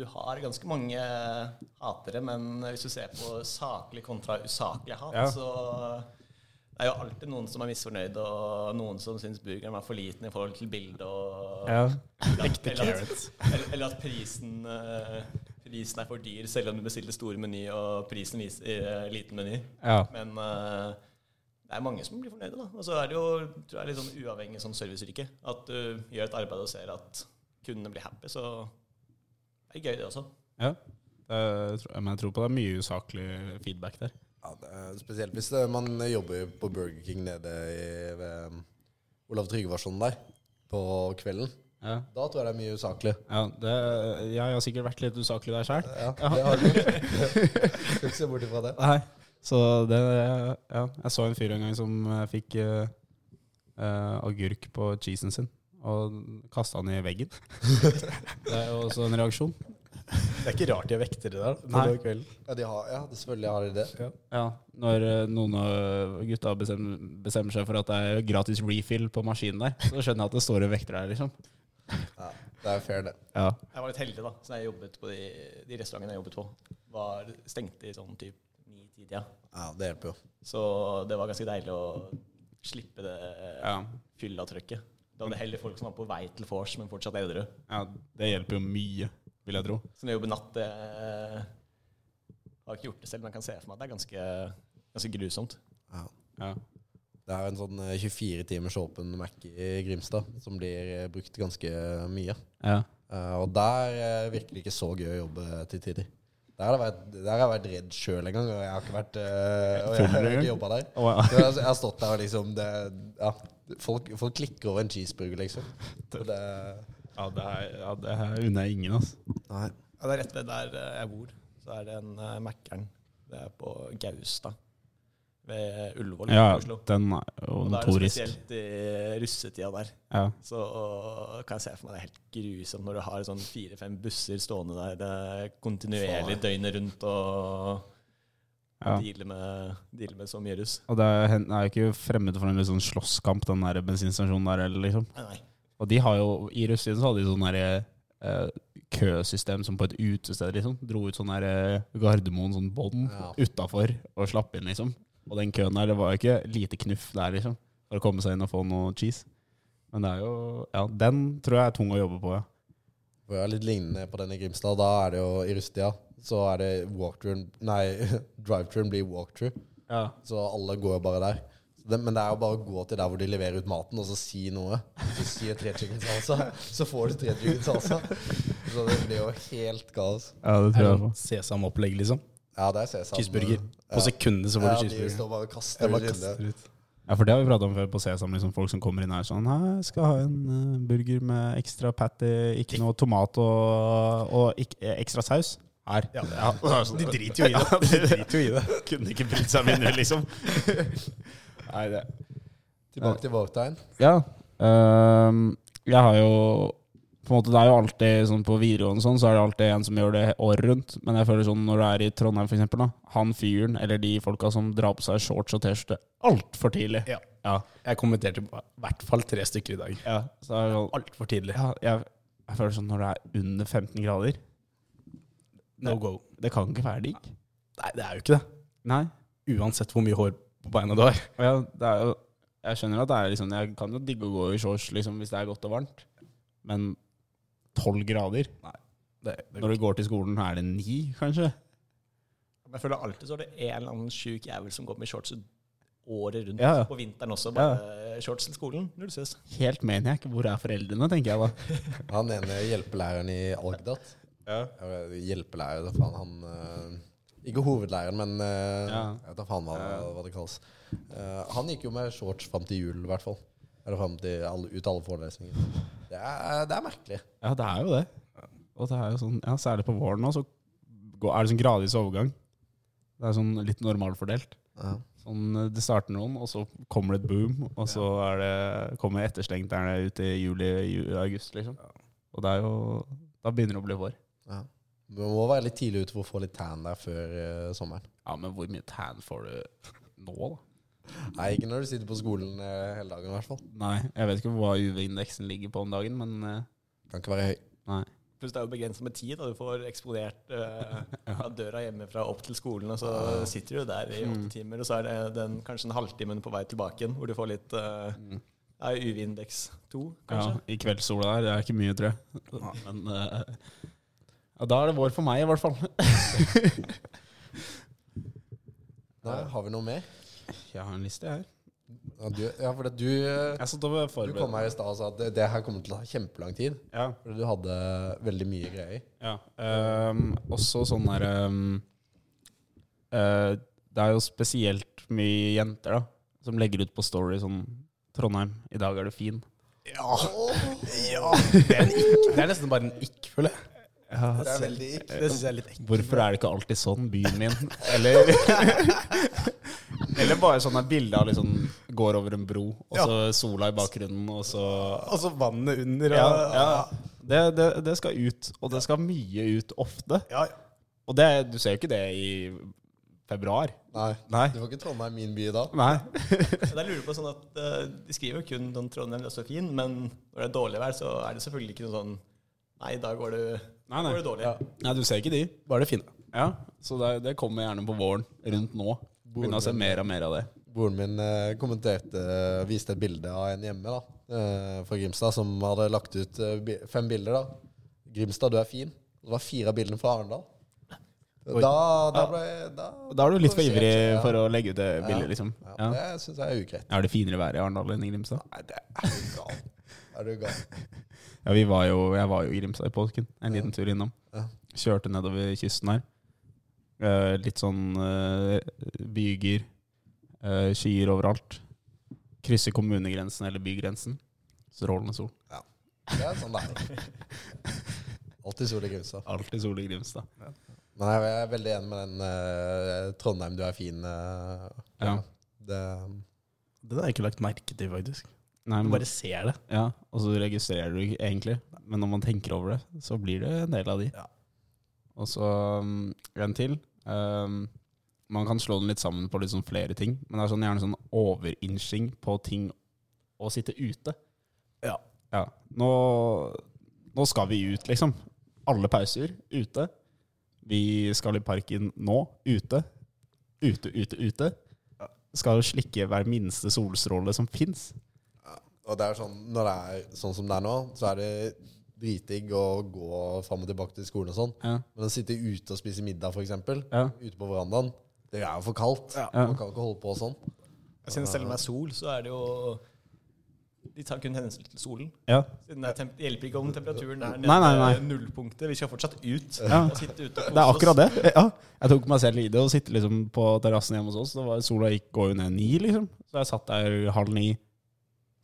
F: Du har ganske mange hatere, men hvis du ser på saklig kontra usaklig hat,
C: Ja.
F: så det er jo alltid noen som er misfornøyd, og noen som syns burgeren var for liten i forhold til bildet, og eller, at, eller, at, eller, eller at prisen eh, Prisen er for dyr, selv om du bestilte stor meny og prisen viser eh, liten meny.
C: Ja.
F: Men eh, det er mange som blir fornøyde, da. Og så er det jo tror jeg, litt sånn uavhengig sånn serviceyrke. At du gjør et arbeid og ser at kundene blir happy, så er det gøy, det også.
C: ja. Eh, tro- men jeg tror på det er mye usaklig feedback der.
D: Ja, det er spesielt hvis det, man jobber på Burger King nede i, ved um, Olav Tryggvarsson der på kvelden.
C: Ja.
D: Da tror jeg det er mye usaklig.
C: Ja, det, jeg har sikkert vært litt usaklig der sjøl.
D: Ja, det har du. Skal ikke se bort ifra det.
C: Nei. Så det Ja, jeg så en fyr en gang som eh, fikk eh, eh, agurk på cheesen sin. Og kasta den i veggen. det er jo også en reaksjon.
G: Det er ikke rart de er vektere der. på
C: Nei.
G: den kvelden.
D: Ja, de har, ja selvfølgelig har de det.
C: Ja, Når eh, noen av gutta bestemmer, bestemmer seg for at det er gratis refill på maskinen der, så skjønner jeg at det står en vekter der, liksom.
D: Ja, det er fair, det.
C: Ja.
F: Jeg var litt heldig, da. Så jeg jobbet på de, de restaurantene jeg jobbet på, var stengt i sånn typ ni-tida.
D: Ja, Det hjelper jo.
F: Så det var ganske deilig å slippe det
C: Ja.
F: fylla trøkket. Da var det heller folk som var på vei til vors, men fortsatt edru.
C: ja, det hjelper jo mye, vil jeg tro.
F: Så når jeg jobber natt, det eh, har jeg ikke gjort det selv, men jeg kan se for meg at det er ganske, ganske grusomt.
D: Ja.
C: Ja.
D: Det er jo en sånn eh, 24 timers åpen Mac i Grimstad som blir eh, brukt ganske mye.
C: Ja.
D: Eh, og der eh, virker det ikke så gøy å jobbe til tider. Der har jeg vært, der har jeg vært redd sjøl en gang, og jeg har ikke vært eh, Og jeg har ikke jobba der.
C: Å, ja.
D: Så Jeg, jeg har stått der og liksom det, ja, folk, folk klikker over en cheeseburger, liksom. Og det,
C: Ja, det er, ja, det her unner jeg ingen, altså.
D: nei.
F: Ja, det er rett ved der eh, jeg bor. Så er det en uh, Mækkern. Det er på Gaustad ved Ullevål
C: Ja,
F: i Oslo.
C: den er jo
F: Og da er det
C: notorisk.
F: spesielt i russetida der.
C: Ja.
F: Så og, kan jeg se for meg det er helt grusomt når du har sånn fire-fem busser stående der det er kontinuerlig døgnet rundt og
C: Ja.
F: dealer, med, dealer med så mye russ.
C: Og det er, hen- det er jo ikke fremmed for en litt sånn slåsskamp, den der bensinstasjonen der. eller Liksom.
F: Nei, nei.
C: Og de har jo, I russetiden så hadde de sånn der, eh, køsystem som på et utested. liksom. Dro ut sånn der, eh, Gardermoen, sånn bånd
D: Ja.
C: utafor og slapp inn, liksom. Og den køen der, det var jo ikke lite knuff der, liksom. For å komme seg inn og få noe cheese. Men det er jo Ja, den tror jeg er tung å jobbe på, ja.
D: For jeg er litt lignende på den i Grimstad. Da er det jo i russetida. Så er det walkthroughen Nei, drive-throughen blir walkthrough.
C: Ja.
D: Så alle går jo bare der. Så det, men det er jo bare å gå til der hvor de leverer ut maten, og så si noe. Så sier tre chicken salsa, så får du tre chicken salsa. Så det blir jo helt kaos.
C: det tror jeg på.
G: Sesamopplegg, liksom.
D: Ja, der ser jeg sammen.
G: Cheeseburger.
D: Ja.
G: På sekundet så
D: Ja,
G: får
D: de
G: du cheeseburger.
D: står bare og kaster
G: Jeg
D: ut
G: bare
D: vinduet.
G: kaster ut.
C: Ja, for det har vi prata om før på Sesam. Liksom folk som kommer inn her sånn Hei, jeg skal ha en eh, burger med ekstra patty, ikke noe tomat og, og ikk- eh, ekstra saus. Her. Ja, sånn, De driter jo i det. De driter jo i det. Kunne ikke brydd seg mindre, liksom. Nei, det
D: Tilbake til vårtegn.
C: Ja. ehm, jeg har jo på en måte, Det er jo alltid sånn på videregående sånn, så er det alltid en som gjør det året rundt. Men jeg føler sånn når du er i Trondheim, for eksempel, da, han fyren eller de folka som drar på seg shorts og T-skjorte altfor tidlig.
G: Ja.
C: ja.
G: Jeg kommenterte på i hvert fall tre stykker i dag.
C: Ja, så er det sånn
G: Altfor tidlig.
C: ja, jeg, jeg føler sånn når det er under 15 grader
G: No go.
C: Det kan ikke være digg.
G: Nei, det er jo ikke det.
C: Nei.
G: Uansett hvor mye hår på beina du har.
C: Og jeg, det er jo, jeg skjønner at det er liksom Jeg kan jo digge å gå i shorts liksom, hvis det er godt og varmt, men 12 grader
G: Det, det
C: Når du går til skolen, er det 9, kanskje?
F: Men jeg føler alltid så er det en eller annen sjuk jævel som går med shorts året rundt.
C: Ja, ja.
F: På vinteren også. Bare shorts til skolen. Når du ses.
C: Helt maniac. Hvor er foreldrene, tenker jeg da.
D: Han ene hjelpelæreren i Algdat. Eh, Hjelpelærer, da faen. Han eh, Ikke hovedlæreren, men eh,
C: Ja.
D: jeg vet da faen hva, hva det kalles. Eh, han gikk jo med shorts fram til jul, i hvert fall. Eller fram til alle, ut alle forelesninger. Det er, det er merkelig.
C: Ja, det er jo det. Og det er jo sånn, ja, Særlig på våren nå, så går- er det sånn gradvis overgang. Det er sånn litt normalfordelt.
D: Ja.
C: Sånn, eh, det starter noen, og så kommer det et boom, og så er det, kommer etterslengt der ute i juli, ju- august, liksom. Og det er jo Da begynner det å bli vår.
D: Ja. Du må være litt tidlig ute for å få litt tan der før eh, sommeren.
C: Ja, men hvor mye tan får du nå, da?
D: Nei, ikke når du sitter på skolen eh, hele dagen, i hvert fall.
C: Nei, jeg vet ikke hva UV-indeksen ligger på om dagen, men eh,
D: Kan ikke være høy.
C: nei.
F: Pluss det er jo begrenset med tid. Da. Du får eksponert eh, fra døra hjemmefra opp til skolen, og så sitter du der i
G: Mm.
F: åtte timer, og så er det den, kanskje en halvtimen på vei tilbake igjen, hvor du får litt eh,
G: Mm.
F: ja, UV-indeks 2,
C: Ja,
F: kanskje.
C: I kveldssola der, det er ikke mye, tror jeg. Men eh, ja, da er det vår for meg, i hvert fall.
D: Nei, har vi noe mer?
C: Jeg har en liste, jeg her.
D: Ja, du, ja for det, du, eh,
C: Jeg satt og
D: du kom
C: forberedte
D: her i stad og sa at det, det her kommer til å ta kjempelang tid.
C: Ja,
D: Fordi du hadde veldig mye greier.
C: ja. Ehm, også sånn der ehm, eh, Det er jo spesielt mye jenter da som legger ut på Story sånn Trondheim, i dag er du fin.
G: Det er nesten bare en ikk, føler jeg.
D: Det er veldig ikke.
G: Det syns jeg er litt ekkelt.
C: Hvorfor er det ikke alltid sånn, byen min? Eller, eller bare sånne bilder av liksom går over en bro, og så sola i bakgrunnen, og så
G: Og så vannet under.
C: Ja,
G: og-
C: ja. Det, det, det skal ut, og det skal mye ut ofte.
G: Ja, ja.
C: Og det, du ser jo ikke det i februar.
D: Nei.
C: Nei.
D: Du var ikke Trondheim min by da.
C: Nei.
F: Så der lurer jeg på sånn at eh, De skriver jo kun om Trondheim, det er så fin, men når det er dårlig vær, så er det selvfølgelig ikke noe sånn Nei, da går det,
C: Nei,
F: går
C: nei.
F: det dårlig.
C: Nei, du ser ikke de.
G: Bare det fine.
C: Ja, Så det, det kommer gjerne på våren, rundt nå. Begynner å se mer og mer av det.
D: Broren min eh, kommenterte, eh, viste et bilde av en hjemme da, eh, fra Grimstad som hadde lagt ut eh, bi- fem bilder. da. 'Grimstad, du er fin'. Det var fire av bildene fra Arendal. Da, da ble da,
C: Da er du litt for
D: provosert,
C: ivrig
D: ja.
C: for å legge ut det bildet, liksom.
D: Ja,
C: Ja.
D: Det syns jeg er ugreit.
C: Er det finere vær i Arendal enn i Grimstad?
D: Nei, det er du gal. Er du gal?
C: Ja, vi var jo, jeg var jo i Grimstad i påsken. En liten tur innom.
D: Ja.
C: Kjørte nedover kysten her. Eh, litt sånn eh, byger, eh, skyer overalt. Krysser kommunegrensen eller bygrensen. Strålende sol.
D: Det er sånn det er. Alltid sol i Grimstad.
C: Alltid sol i Grimstad.
D: Men jeg er veldig enig med den eh, 'Trondheim, du er fin'. eh,
C: Ja.
D: Det,
G: Den har jeg ikke lagt merke til, faktisk.
C: Nei,
G: Du
C: men,
G: bare ser det.
C: ja, og så registrerer du ikke egentlig, men når man tenker over det, så blir det en del av de.
G: Ja.
C: Og så um, en til. Um, man kan slå den litt sammen på litt sånn flere ting, men det er sånn, gjerne sånn overinsjing på ting å sitte ute.
G: Ja.
C: Ja. Nå, nå skal vi ut, liksom. Alle pauser ute. Vi skal i parken nå, ute. Ute, ute, ute. Skal jo slikke hver minste solstråle som fins.
D: og det er sånn, når det er sånn som det er nå, så er det dritdigg å gå fram og tilbake til skolen og sånn.
C: Ja.
D: Men å sitte ute og spise middag, f.eks., eksempel
C: Ja.
D: ute på verandaen, det er jo for kaldt. Man kan ikke holde på sånn.
F: Jeg synes selv om det er sol, så er det jo De tar kun hensyn til solen.
C: Ja.
F: Siden det, er temp det hjelper ikke om temperaturen er nede
C: Nei, nei, nei.
F: ved nullpunktet. Vi skal fortsatt ut.
C: Ja.
F: Og sitte ute
C: Det er akkurat det. Ja. Jeg tok meg selv i det og sitte liksom på terrassen hjemme hos oss. Det var, sola gikk går jo ned ni, liksom. Så jeg satt der halv ni.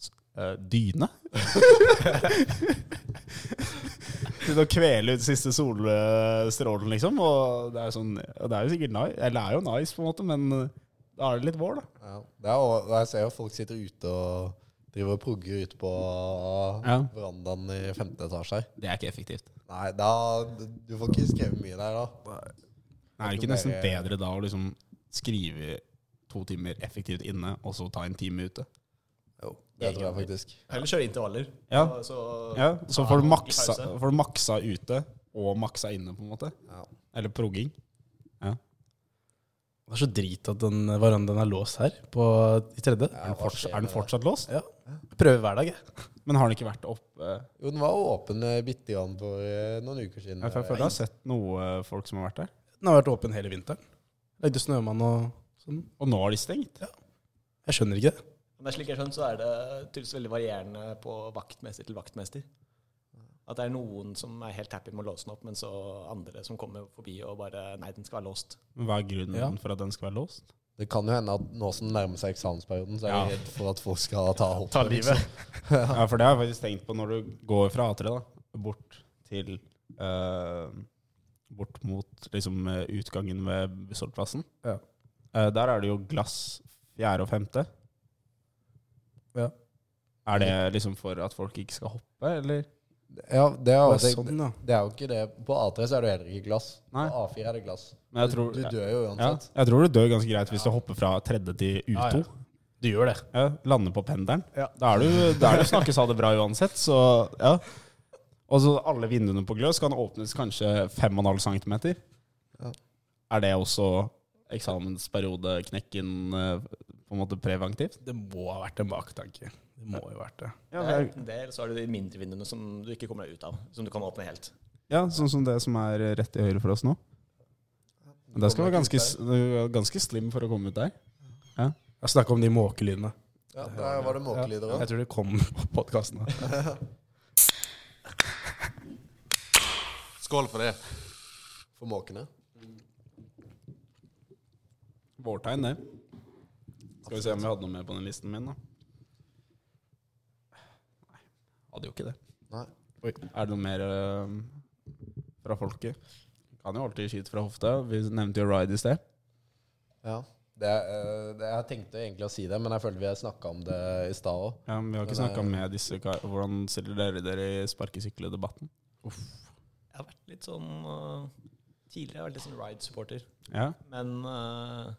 C: S- eh, Dyne? Begynte å kvele ut siste solstrålen, liksom. Og det er, sånn, og det er jo sikkert nice. Eller det er jo nice, på en måte, men eh, da er det litt vår, da.
D: Ja. Det er, jo- jeg ser jo folk sitter ute og driver og progger ute på
C: Ja.
D: verandaen i femte etasje her.
C: Det er ikke effektivt.
D: Nei, da, du får ikke skrevet mye der da.
C: Er det ikke nesten bedre da å liksom skrive to timer effektivt inne, og så ta en time ute?
D: Jo, det tror jeg faktisk.
F: Eller kjøre intervaller.
C: Ja.
F: Og Så,
C: Ja, så får du,
F: Ja,
C: maksa,
F: i pause.
C: får du maksa ute og maksa inne, på en måte.
D: Ja.
C: Eller progging.
G: Det er så drit at den verandaen er låst her på, i tredje.
D: Ja,
C: Er den,
D: hva
C: forts
D: skjer
C: er den
D: med det?
C: fortsatt låst?
G: Ja. Jeg prøver hver dag, jeg.
C: Men har den ikke vært oppe
D: Jo, den var åpen eh, bitte grann for eh, noen uker siden.
C: Jeg føler jeg har sett noe eh, folk som har vært der.
G: Den har vært åpen hele vinteren. Lagde snømann og sånn.
C: Og nå har de stengt.
G: Jeg skjønner ikke det.
F: Men slik jeg skjønner, så er det tydeligvis veldig varierende på vaktmester til vaktmester. At det er noen som er helt happy med å låse den opp, men så andre som kommer forbi og bare Nei, den skal være låst.
C: Men Hva er grunnen
G: Ja.
C: for at den skal være låst?
D: Det kan jo hende at nå som det nærmer seg eksamensperioden, så er
C: Ja.
D: jeg redd for at folk skal ta Liksom. hopp.
C: Ja, for det har jeg faktisk tenkt på når du går fra A3 da, bort til eh, Bort mot liksom, eh, utgangen ved Bussholdplassen.
G: Ja.
C: Eh, der er det jo glass fjerde og femte.
G: Ja.
C: Er det liksom for at folk ikke skal hoppe, eller?
D: Ja, det er,
C: Det
D: jo
C: er
D: tenkt-
C: sånn, ja.
D: det er jo ikke det. På A3 så er det jo heller ikke glass.
C: Nei.
D: På A4 er det glass.
C: Men jeg tror-
D: du, du dør jo
C: Ja,
D: uansett.
C: jeg tror du dør ganske greit hvis du hopper fra tredje til U2.
G: Ja, ja. Du gjør det.
C: Ja, lander på pendelen. Da er du, da er du snakkes ha det bra uansett, så ja. Og så alle vinduene på gløs kan åpnes kanskje 5,5 cm. Er det også eksamensperiodeknekken eh, på en måte preventivt?
G: Det må ha vært en baktanke. Det må jo ha vært det.
C: Ja,
F: Det er enten det, eller så er det de mindre vinduene som du ikke kommer deg ut av. Som du kan åpne helt.
C: sånn som det som er rett til høyre for oss nå. Men Det skal være ganske, s- ganske slim for å komme ut der.
G: Jeg snakker om de måkelydene.
D: Ja, der var det måkelyder òg.
G: Jeg tror det kom på podkasten.
A: Skål for det.
D: For måkene.
C: Vårtegn, det. Skal vi se om vi hadde noe mer på den listen min, da. Nei, hadde jo ikke det.
D: Nei.
C: Oi. Er det noe mer eh, fra folket? Kan jo alltid skyte fra hofta. Vi nevnte jo Ride i sted.
D: Ja. Det, er, eh, det, jeg tenkte egentlig å si det, men jeg føler vi har snakka om det i stad òg.
C: Ja, men vi har ikke snakka med disse kar- Hvordan stiller dere dere i sparkesykkeldebatten?
F: Jeg har vært litt sånn øh, Tidligere har jeg vært litt sånn ride-supporter.
C: Ja,
F: Men øh,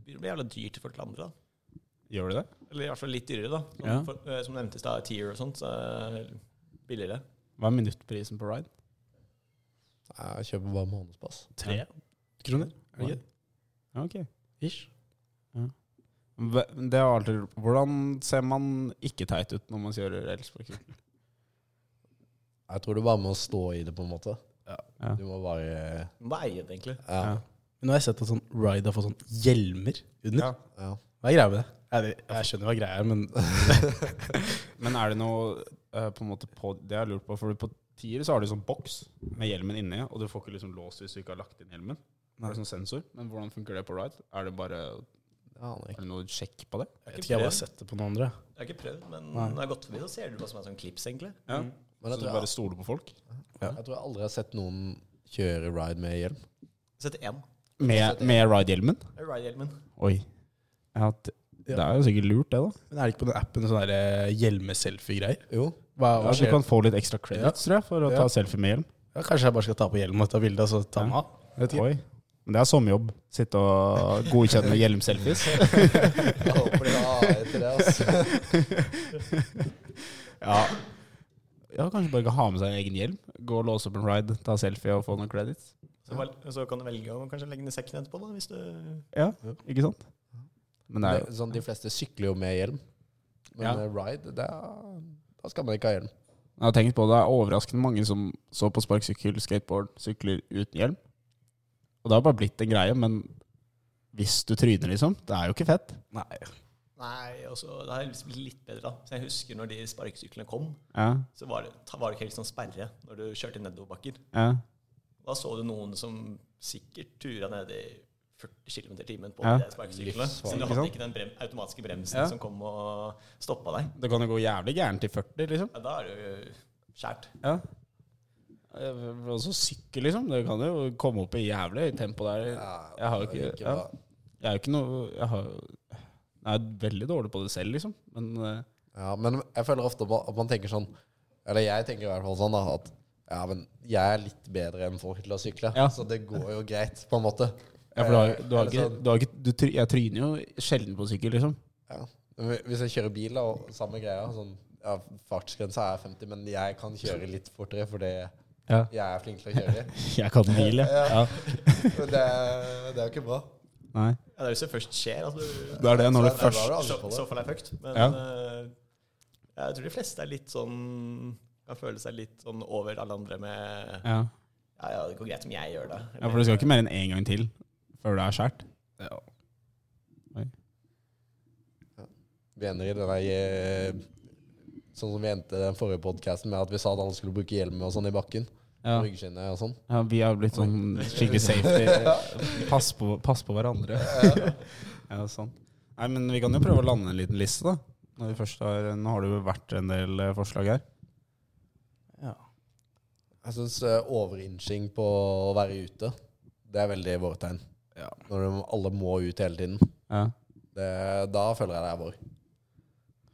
F: det begynner å bli jævla dyrt for til andre, da.
C: Gjør de det?
F: Eller i hvert fall litt dyrere, da. Som,
C: Ja.
F: for, øh, som nevnte i stad, tier og sånt. Så er det billigere.
C: Hva er minuttprisen på Ride?
D: Jeg kjøper bare månedspass.
G: Tre kroner? Er det ikke?
C: Ja, ok.
G: Ish.
C: Hva- Det er alltid, hvordan ser man ikke teit ut når man kjører elsparkesykkel?
D: Jeg tror du bare må stå i det, på en måte.
C: Ja.
D: Du må bare
F: Du må eie det, egentlig.
D: Ja.
C: Ja.
G: Men nå har jeg sett at sånn Ride har fått sånn hjelmer under.
C: Ja.
D: ja.
G: Hva er greia med det? Jeg, vet- jeg skjønner hva greia er, men
C: Men er det noe eh, på en måte på Det har jeg lurt på, for på tier så har du sånn boks med hjelmen inni, og du får ikke liksom lås hvis du ikke har lagt inn hjelmen. Er det sånn sensor? Men hvordan funker det på ride? Er det bare
D: Jeg aner ikke.
C: Er det noe sjekk på det?
G: jeg vet ikke, jeg har bare sett det på noen andre.
F: Jeg har ikke prøvd, men
G: Nei.
F: når jeg har gått forbi, så ser du hva som er sånn klips, egentlig.
C: Ja.
D: Men
C: Så
D: jeg
C: du
D: tror
C: bare
D: jeg,
C: stoler på folk?
D: jeg tror jeg aldri har sett noen kjøre ride med hjelm.
F: Jeg setter én.
C: Med, med ride-hjelmen?
F: Ride-hjelmen.
C: Oi. Ja, det, det er jo sikkert lurt, det, da.
G: Men er det ikke på den appen sånne der, eh, hjelmeselfie-greier?
D: Jo.
G: Hva,
C: Ja,
G: hva
C: så du
G: skjer?
C: kan få litt ekstra credits, tror jeg, for å ta
G: Ja.
C: selfie med hjelm.
G: Ja, kanskje jeg bare skal ta på hjelmen og ta bilde, altså. og så ta den
C: Ja.
G: av? Jeg vet ikke.
C: Oi. Men det er sommerjobb. Sitte og godkjenne hjelmselfies.
D: Jeg håper de har AI til det. Altså.
C: Ja. ja, kanskje bare ikke ha med seg en egen hjelm. Gå og låse opp en ride, ta selfie og få noen credits.
F: Så, val- så kan du velge å kanskje legge den i sekken etterpå, da, hvis du
C: Ja, ikke sant? Men det er jo
D: Sånn, de fleste sykler jo med hjelm, men
C: Ja.
D: eh, ride, det er, da skal man ikke ha hjelm.
C: Jeg har tenkt på det, det er overraskende mange som så på sparkesykkel, skateboard, sykler uten hjelm. Og det har bare blitt en greie, men hvis du tryner, liksom, det er jo ikke fett.
G: Nei.
F: Nei, og så Det har heldigvis blitt litt bedre, da. Så jeg husker når de sparkesyklene kom,
C: Ja,
F: så var det, ta- var det ikke helt sånn sperre når du kjørte i nedoverbakker.
C: ja.
F: Da så du noen som sikkert tura ned i 40 km i timen på
C: Ja.
F: de sparkesyklene. Siden du
C: ikke
F: hadde
C: sant?
F: ikke den brem, automatiske bremsen
C: Ja.
F: som kom og stoppa deg.
C: Det kan jo gå jævlig gærent til 40, liksom.
F: Ja, da er det jo skjært.
C: Ja. Eh, Og så sykkel, liksom. Det kan jo komme opp i jævlig høyt tempo der. Jeg har jo ikke, ja.
D: bra.
C: jeg er jo ikke noe Jeg, har, jeg er veldig dårlig på det selv, liksom. Men eh,
D: Ja, men jeg føler ofte på at man tenker sånn Eller jeg tenker i hvert fall sånn da at ja, men jeg er litt bedre enn folk til å sykle,
C: Ja.
D: så det går jo greit, på en måte.
C: ja, for du har, du har
D: Eller
C: ikke,
D: sånn-
C: du har ikke du, try- Jeg tryner jo sjelden på sykkel, liksom.
D: Ja. Men Hvis jeg kjører bil, da, og samme greia sånn, ja, Fartsgrensa er 50, men jeg kan kjøre litt fortere fordi
C: Ja.
D: jeg er flink til å kjøre.
C: Jeg kan hvile. Ja.
D: Men det, er- det er jo ikke bra.
C: Nei.
F: Ja, det er hvis det først skjer. at du
C: Det er det når du
D: Så da
C: først
D: har du aldri
F: så,
D: på det.
F: så fall er fucked. Men
C: Ja.
F: eh, jeg tror de fleste er litt sånn Kan føle seg litt sånn over alle andre med
C: ja.
F: Ja, ja, det går greit om jeg gjør det.
C: ja, for det skal ikke mer enn én gang til før det er skjært.
D: Vi ender i den der eh, Sånn som vi endte den forrige podcasten med at vi sa at alle skulle bruke hjelm og sånn i bakken.
C: Ja.
D: og Ryggskinnet og sånn.
C: ja, vi har blitt sånn skikkelig safety. Pass på, pass på hverandre. Ja, sant. Nei, men vi kan jo prøve å lande en liten liste, da. Når vi først har, nå har det jo vært en del eh, forslag her.
D: Jeg syns overinnsing på å være ute, det er veldig vårtegn.
G: Ja.
D: Når de, alle må ut hele tiden.
C: Ja.
D: Det, da føler jeg det er vår.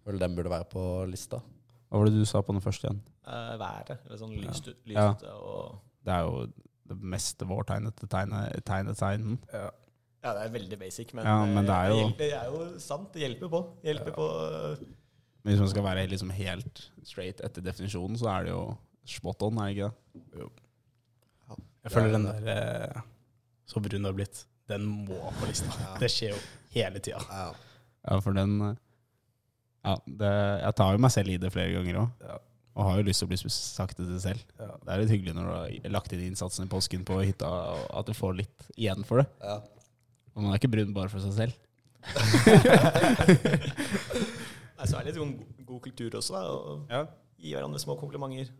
D: Føler den burde være på lista.
C: Hva var det du sa på den første igjen?
F: Eh, været. Eller sånn lyst ut.
C: Ja.
F: lyst ut, og,
C: Det er jo det mest vårtegnete tegnet, tegnet tegnen.
F: ja. det er veldig basic, men, eh,
C: Ja, men det er jo-
F: det er jo sant. Det hjelper på. Det hjelper på eh,
C: Men hvis man skal være liksom helt straight etter definisjonen, så er det jo spot on, er det ikke det?
G: Jeg føler den der eh, Så brun du har blitt, den må på lista. Det skjer jo hele tida.
D: Ja.
C: Ja, for den eh, Ja, det, jeg tar jo meg selv i det flere ganger òg.
G: Ja.
C: Og har jo lyst til å bli sp- sagt det selv. Det er litt hyggelig når du har lagt inn innsatsen i påsken på hytta, og at du får litt igjen for det.
D: Ja.
C: Og man er ikke brun bare for seg selv.
F: altså, det er litt sånn go- god kultur også, da. Og
C: Ja.
F: gi hverandre små komplimenter.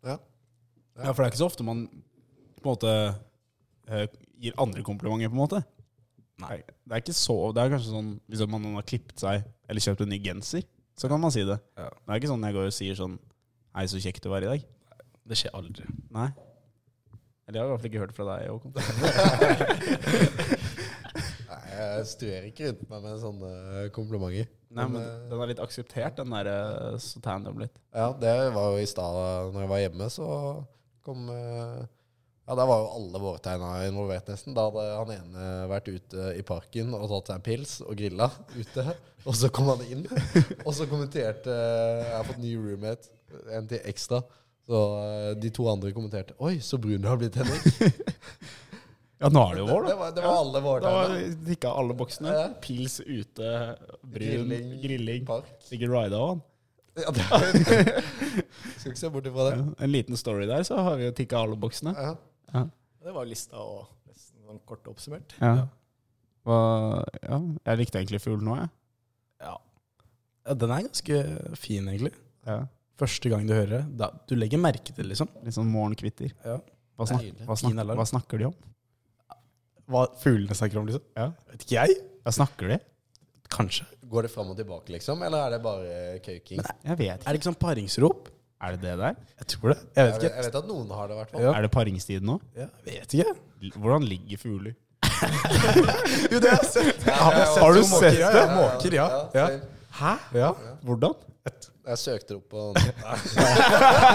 C: for det er ikke så ofte man på en måte eh, gir andre komplimenter, på en måte. Nei, det er ikke så Det er kanskje sånn hvis man har klippet seg eller kjøpt en ny genser, så kan man si det.
G: Ja.
C: Det er ikke sånn jeg går og sier sånn Hei, så kjekk du var i dag.
G: Det skjer aldri.
C: Nei. Eller jeg har i hvert fall ikke hørt fra deg, Håkon.
D: Nei, jeg stuerer ikke rundt meg med sånne komplimenter.
C: Nei, men
D: eh,
C: den er litt akseptert, den der eh, så tan dem litt.
D: Ja, det var jo i stad når jeg var hjemme, så kom eh, Ja, der var jo alle vårtegna involvert, nesten. Da hadde han ene vært ute i parken og tatt seg en pils og grilla ute. Og så kom han inn, og så kommenterte eh, Jeg har fått ny roommate, en til ekstra. Så eh, de to andre kommenterte 'Oi, så brun du har blitt, Henrik'.
C: Ja, nå er det jo
D: Det,
C: vår, da.
D: det, var, det var alle
C: Da
D: vårtegna.
C: tikka alle boksene.
D: Ja.
C: Pils ute, brun,
D: Grilling,
C: grilling.
D: park.
C: Sikkert rida òg, han.
D: Ja, det, skal ikke se bort ifra det.
C: En liten story der, så har vi jo tikka alle boksene.
D: Ja.
F: Det var jo lista og nesten sånn kort oppsummert.
C: Ja. Hva, ja, jeg likte egentlig fugl nå, jeg.
G: Ja. ja. Den er ganske fin, egentlig.
C: Ja.
G: Første gang du hører det. Da, du legger merke til det, liksom.
C: Litt sånn morgenkvitter.
G: Ja.
C: Hva, snak,
D: Deilig.
C: hva,
G: Fin
C: snak,
G: alarm.
C: hva snakker de om?
G: Hva fuglene snakker om, liksom.
C: Ja.
G: Vet ikke jeg.
C: ja, snakker de?
G: Kanskje.
D: Går det fram og tilbake, liksom? Eller er det bare kauking?
C: Jeg vet ikke.
G: Er det ikke sånn paringsrop?
C: Er det det der?
G: Jeg tror det. Jeg vet
D: Jeg vet,
G: ikke.
D: jeg vet at noen har det, i hvert fall.
G: Ja.
C: Er det paringstid nå?
G: Ja, jeg vet ikke.
C: L- Hvordan ligger fugler?
G: Jo, det har jeg sett. Har du sett det? Måker, ja. ja.
D: same.
G: Hæ? Ja.
C: Hvordan?
D: Jeg søkte det opp på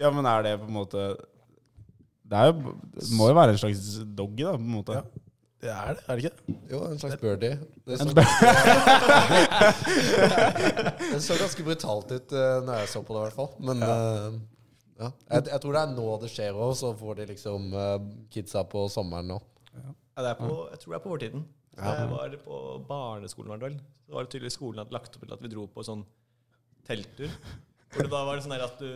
C: Ja, men er det på en måte Det, er jo, det må jo være en slags doggy, da, på en måte.
G: Det er det, er det ikke?
D: Jo, en slags birdie. Det så, det så ganske brutalt ut eh, når jeg så på det, i hvert fall. Men eh, ja. jeg, jeg tror det er nå det skjer òg, så får de liksom eh, kidsa på sommeren nå.
F: Ja, det er på, jeg tror det er på vårtiden. Jeg var på barneskolen i hvert fall. Så var det tydeligvis skolen hadde lagt opp til at vi dro på sånn telttur. Hvor det da var det sånn her at du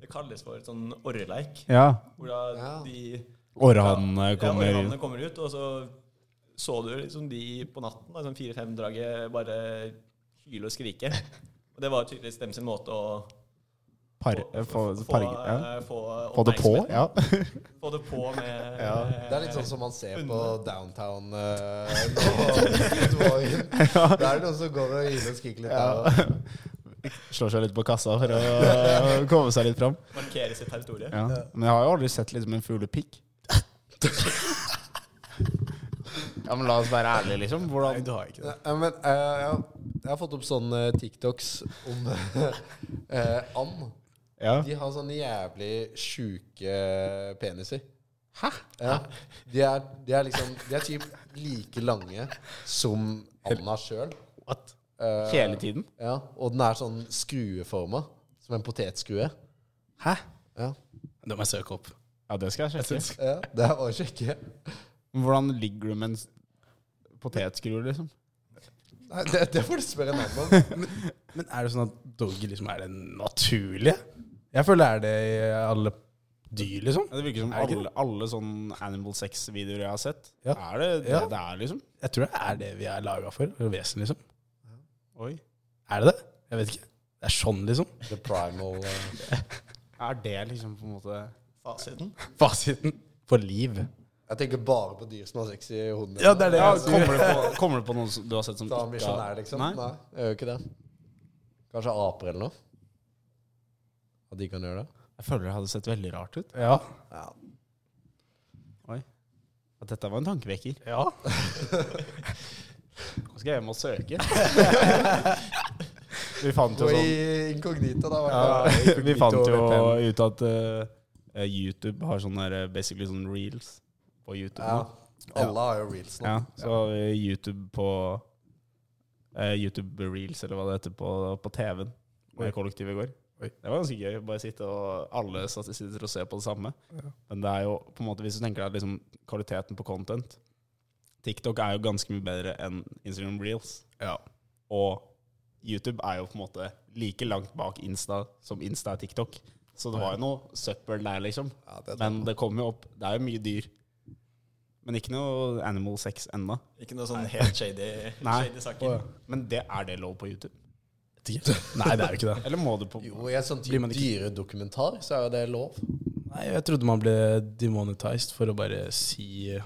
F: Det kalles for et sånn orreleik.
C: Ja.
F: Hvor da
D: Ja.
F: de
C: Orrhannene kommer
F: ja,
C: inn.
F: orrhanene kommer ut, og så så du liksom de på natten, da, sånn fire-fem-draget, bare hyle og skrike. Og det var tydeligvis dem sin måte å
C: Par,
F: få,
C: få,
F: få-
C: par,
F: få,
C: ja.
F: eh, få
C: få det på?
F: oppmerksomheten.
C: Ja.
F: Få det på med eh,
D: Det er litt sånn som man ser på downtown eh, nå. Da er det noen som går og hyler og skriker litt der. og-
C: Slår seg litt på kassa for å komme seg litt fram.
F: markere sitt territorium.
C: Ja. Men jeg har jo aldri sett liksom en fuglepikk. Ja, men la oss være ærlige, liksom.
G: Nei,
C: Hvordan
G: du har ikke det.
D: Ja, men, eh, jeg, har- jeg har fått opp sånne TikToks om eh, and.
C: Ja.
D: De har sånne jævlig sjuke peniser. Hæ? Ja. De, er, de er liksom De er typ like lange som anda sjøl.
C: What? Hele tiden?
D: Ja, og den er sånn skrueforma. Som en potetskrue.
G: Hæ?
D: Ja.
G: Det må jeg søke opp.
C: Ja, det skal jeg sjekke.
D: ja det er bare å sjekke.
C: Men Hvordan ligger du med en s- potetskru, liksom?
D: Nei, det, det får du spørre en annen om.
G: Men er det sånn at doggy liksom er det naturlige? Jeg føler det er det i alle dyr, liksom.
C: Ja, det virker som
G: Er det ikke
C: alle, alle sånn Animal Sex-videoer jeg har sett,
G: Ja.
C: er det det
G: Ja.
C: det er, liksom.
G: Jeg tror det er det vi er laga for. Eller vesen, liksom.
C: Oi.
G: Er det det? Jeg vet ikke. Det er sånn, liksom.
D: The primal eh,
C: Er det liksom på en måte
F: Fasiten.
G: Fasiten for liv.
D: Jeg tenker bare på dyr som har sex i hodene.
G: Ja, det er det.
C: ja,
G: jeg sier.
C: kommer, det på, kommer det på noen som du har sett som
D: Da
C: ikke har-
D: misjonær, liksom? Nei.
C: Nei?
D: jeg gjør ikke det. Kanskje aper eller noe? At de kan gjøre det?
C: Jeg føler det hadde sett veldig rart ut.
G: Ja.
C: At dette var en tankevekker.
G: ja.
C: Nå skal jeg hjem og søke. vi fant jo
D: Gå
C: sånn
D: i inkognito, da.
C: ja,
D: Ja.
C: Vi fant jo ut at eh, YouTube har sånn der eh, basically sånn reels på YouTube.
D: Ja.
C: nå.
D: Alle har jo reels nå.
C: Ja, så har vi YouTube på eh, YouTube Reels, eller hva det heter, på, på TV-en med kollektivet i går. Det var ganske gøy. Bare sitte og alle satt- sitter og ser på det samme. Men det er jo på en måte, hvis du tenker deg liksom, kvaliteten på content TikTok er jo ganske mye bedre enn Instagram Reels. Og YouTube er jo på en måte like langt bak Insta som Insta er TikTok. Så det var jo noe søppel der, liksom.
D: Ja, det er
C: Men det kommer jo opp. Det er jo mye dyr. Men ikke noe animal sex ennå.
F: Ikke noe sånn helt shady,
C: Nei.
F: shady saker.
C: Men det er det lov på YouTube?
G: Nei, det er jo ikke det.
C: Eller må du på
D: Jo, i en sånn
G: Blir man ikke-
D: dyredokumentar så er jo det lov.
G: Nei, jeg trodde man ble demonetized for å bare si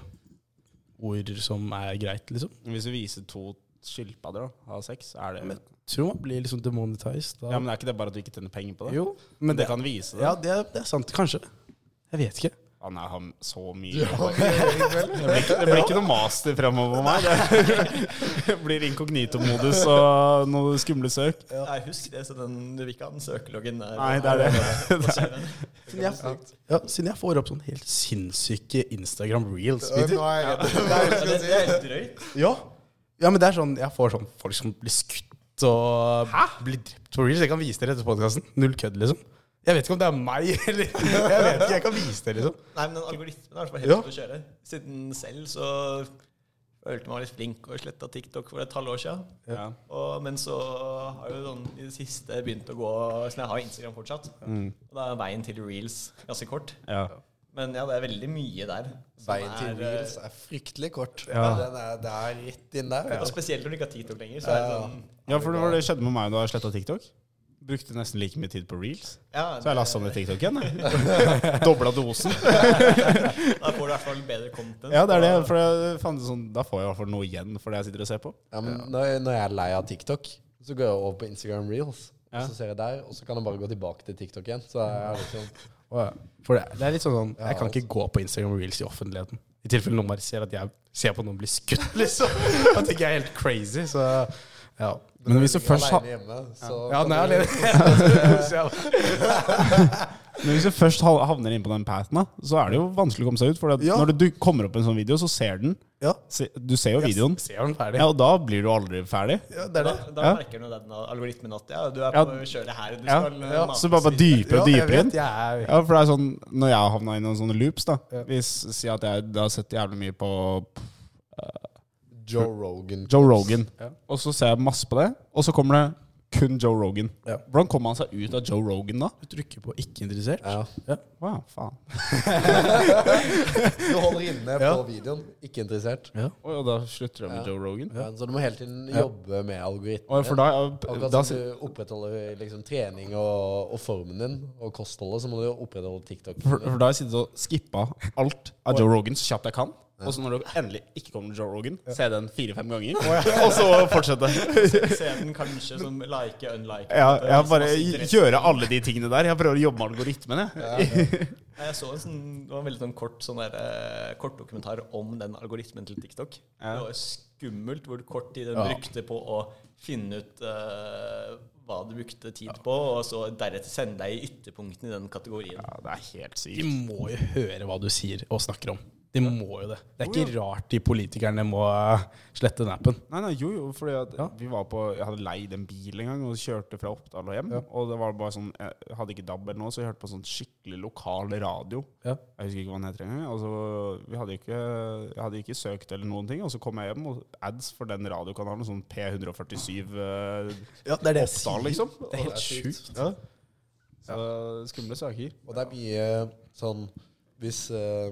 G: ord som er greit, liksom.
C: Hvis du viser to skilpadder og har sex, er det
G: Tror man blir liksom demonetized da.
C: Ja, Men er ikke det bare at du ikke tjener penger på det?
G: jo,
C: Men
G: men
C: det
G: det,
C: kan vise det.
G: ja, det, er, det er sant, kanskje. Jeg vet ikke.
C: Han er han så mye
D: Ja,
C: Det blir ikke, det blir ikke noe master fremover på meg. Det blir inkognito-modus og noe skumle søk.
F: Nei, husk det, så den du vil ikke ha den søkeloggen der.
C: Nei, det er det.
F: På CV-en.
G: Siden jeg, ja, siden jeg får opp sånn helt sinnssyke Instagram reels-videoer.
D: Nå er jeg redd. Det er det jeg
F: Ja,
D: skal
F: det,
D: si.
F: det er helt drøyt.
G: Ja. ja, men det er sånn Jeg får sånn folk som blir skutt og blir drept på reels. Jeg kan vise dere etter podkasten. Null kødd, liksom. Jeg vet ikke om det er meg, eller Jeg vet ikke, jeg kan vise dere, liksom.
F: Nei, men den algoritmen er i hvert fall
G: Ja.
F: helt ute å kjøre. Siden selv så følte man var litt flink og sletta TikTok for et halvår siden.
C: Ja.
F: Og, men så har jo sånn i det siste begynt å gå Sånn jeg har Instagram fortsatt.
C: Mm.
F: Og da er veien til reels ganske kort.
C: Ja.
F: Men ja, det er veldig mye der. som
D: Veien til
F: er, eh,
D: reels er fryktelig kort.
C: Ja.
D: Den er, det er rett inn der. altså.
F: Og spesielt når du ikke har TikTok lenger. Så er det sånn
C: ja, for det var det som skjedde med meg da jeg sletta TikTok. Brukte nesten like mye tid på reels.
F: ja,
C: Så jeg lasta ned TikTok igjen. Dobla dosen.
F: Da får du i hvert fall bedre content.
C: Ja, det er det. For jeg fant det sånn, da får jeg i hvert fall noe igjen for det jeg sitter og ser på.
D: Ja, men når, jeg- når jeg er lei av TikTok, så går jeg over på Instagram reels.
C: Ja.
D: Og så ser jeg der, og så kan jeg bare gå tilbake til TikTok igjen. Så er jeg liksom
G: For det, det er litt sånn sånn Jeg kan ikke gå på Instagram reels i offentligheten. I tilfelle noen bare ser at jeg ser på noen bli skutt, liksom. Da tenker jeg er helt crazy, så ja. Men hvis du først har
D: alene hjemme. Så
G: Ja,
D: kan
G: nei,
D: du-
G: alene. Så jeg-
C: Men hvis du først hav- havner inn på den pathen, da, så er det jo vanskelig å komme seg ut. For
G: Ja.
C: når du duk- kommer opp en sånn video, så ser den.
G: Ja.
C: Se, du ser jo videoen.
G: Jeg ser den ferdig.
C: Ja, og da blir du aldri ferdig.
G: Ja, det er
F: Da,
G: det.
F: da
C: Ja.
F: merker du den algoritmen at ja, du er
C: Ja.
F: på kjøret her. Du
C: Ja.
F: skal eh, mates
C: Så bare, bare
F: videre.
C: dypere og
G: Ja,
C: dypere
G: jeg
C: inn.
G: vet, jeg er-
C: Ja, for det er sånn, Når jeg har havna i noen sånne loops, da Hvis Si at jeg da har sett jævlig mye på
D: Joe Rogan.
C: Joe Rogan, og så ser jeg masse på det, og så kommer det kun Joe Rogan.
G: Ja.
C: Hvordan kommer han seg ut av Joe Rogan da?
G: Du trykker på 'ikke interessert'.
D: Ja.
C: Wow, faen.
D: Du holder inne på videoen. Ikke interessert.
C: Og da slutter jeg med Joe Rogan.
D: Ja, så du må hele tiden jobbe med algoritmen.
C: Og for da,
D: Akkurat
C: da,
D: som du opprettholder liksom, trening og, og formen din og kostholdet, så må du opprettholde TikTok.
C: for, for da har jeg sittet og skippa alt av Joe Rogan så kjapt jeg kan. Og så når det endelig ikke kommer til Joe Rogan, ser jeg den fire-fem ganger, og så fortsette.
F: Se den kanskje som like, unlike.
C: Ja, jeg
F: Det er liksom
C: bare
F: masse interesse.
C: gjøre alle de tingene der. Jeg prøver å jobbe med algoritmene.
F: Ja, Jeg så en sånn, det var en veldig sånn kort, sånn der, eh, kort dokumentar om den algoritmen til TikTok.
C: Ja.
F: Det var jo skummelt hvor kort tid den
C: Ja.
F: brukte på å finne ut eh, hva du brukte tid på, og så deretter sende deg i ytterpunktene i den kategorien.
C: Ja, det er helt
G: De
C: sykt.
G: må jo høre hva du sier og snakker om. De må jo det. Det er ikke rart de politikerne må eh, slette den appen.
C: Nei, nei, jo, jo, fordi at vi var på Jeg hadde leid en bil en gang og kjørte fra Oppdal og hjem. Og det var bare sånn Jeg hadde ikke DAB eller noe, så jeg hørte på sånn skikkelig lokal radio.
G: Ja.
C: Jeg husker ikke hva den heter engang. Altså, vi hadde ikke, jeg hadde ikke søkt eller noen ting. Og så kom jeg hjem, og ads for den radiokanalen, sånn P147 eh,
G: det er det jeg
C: Oppdal, liksom.
G: Det er helt sjukt. Ja.
C: Så skumle saker.
D: Og det er mye sånn Hvis eh,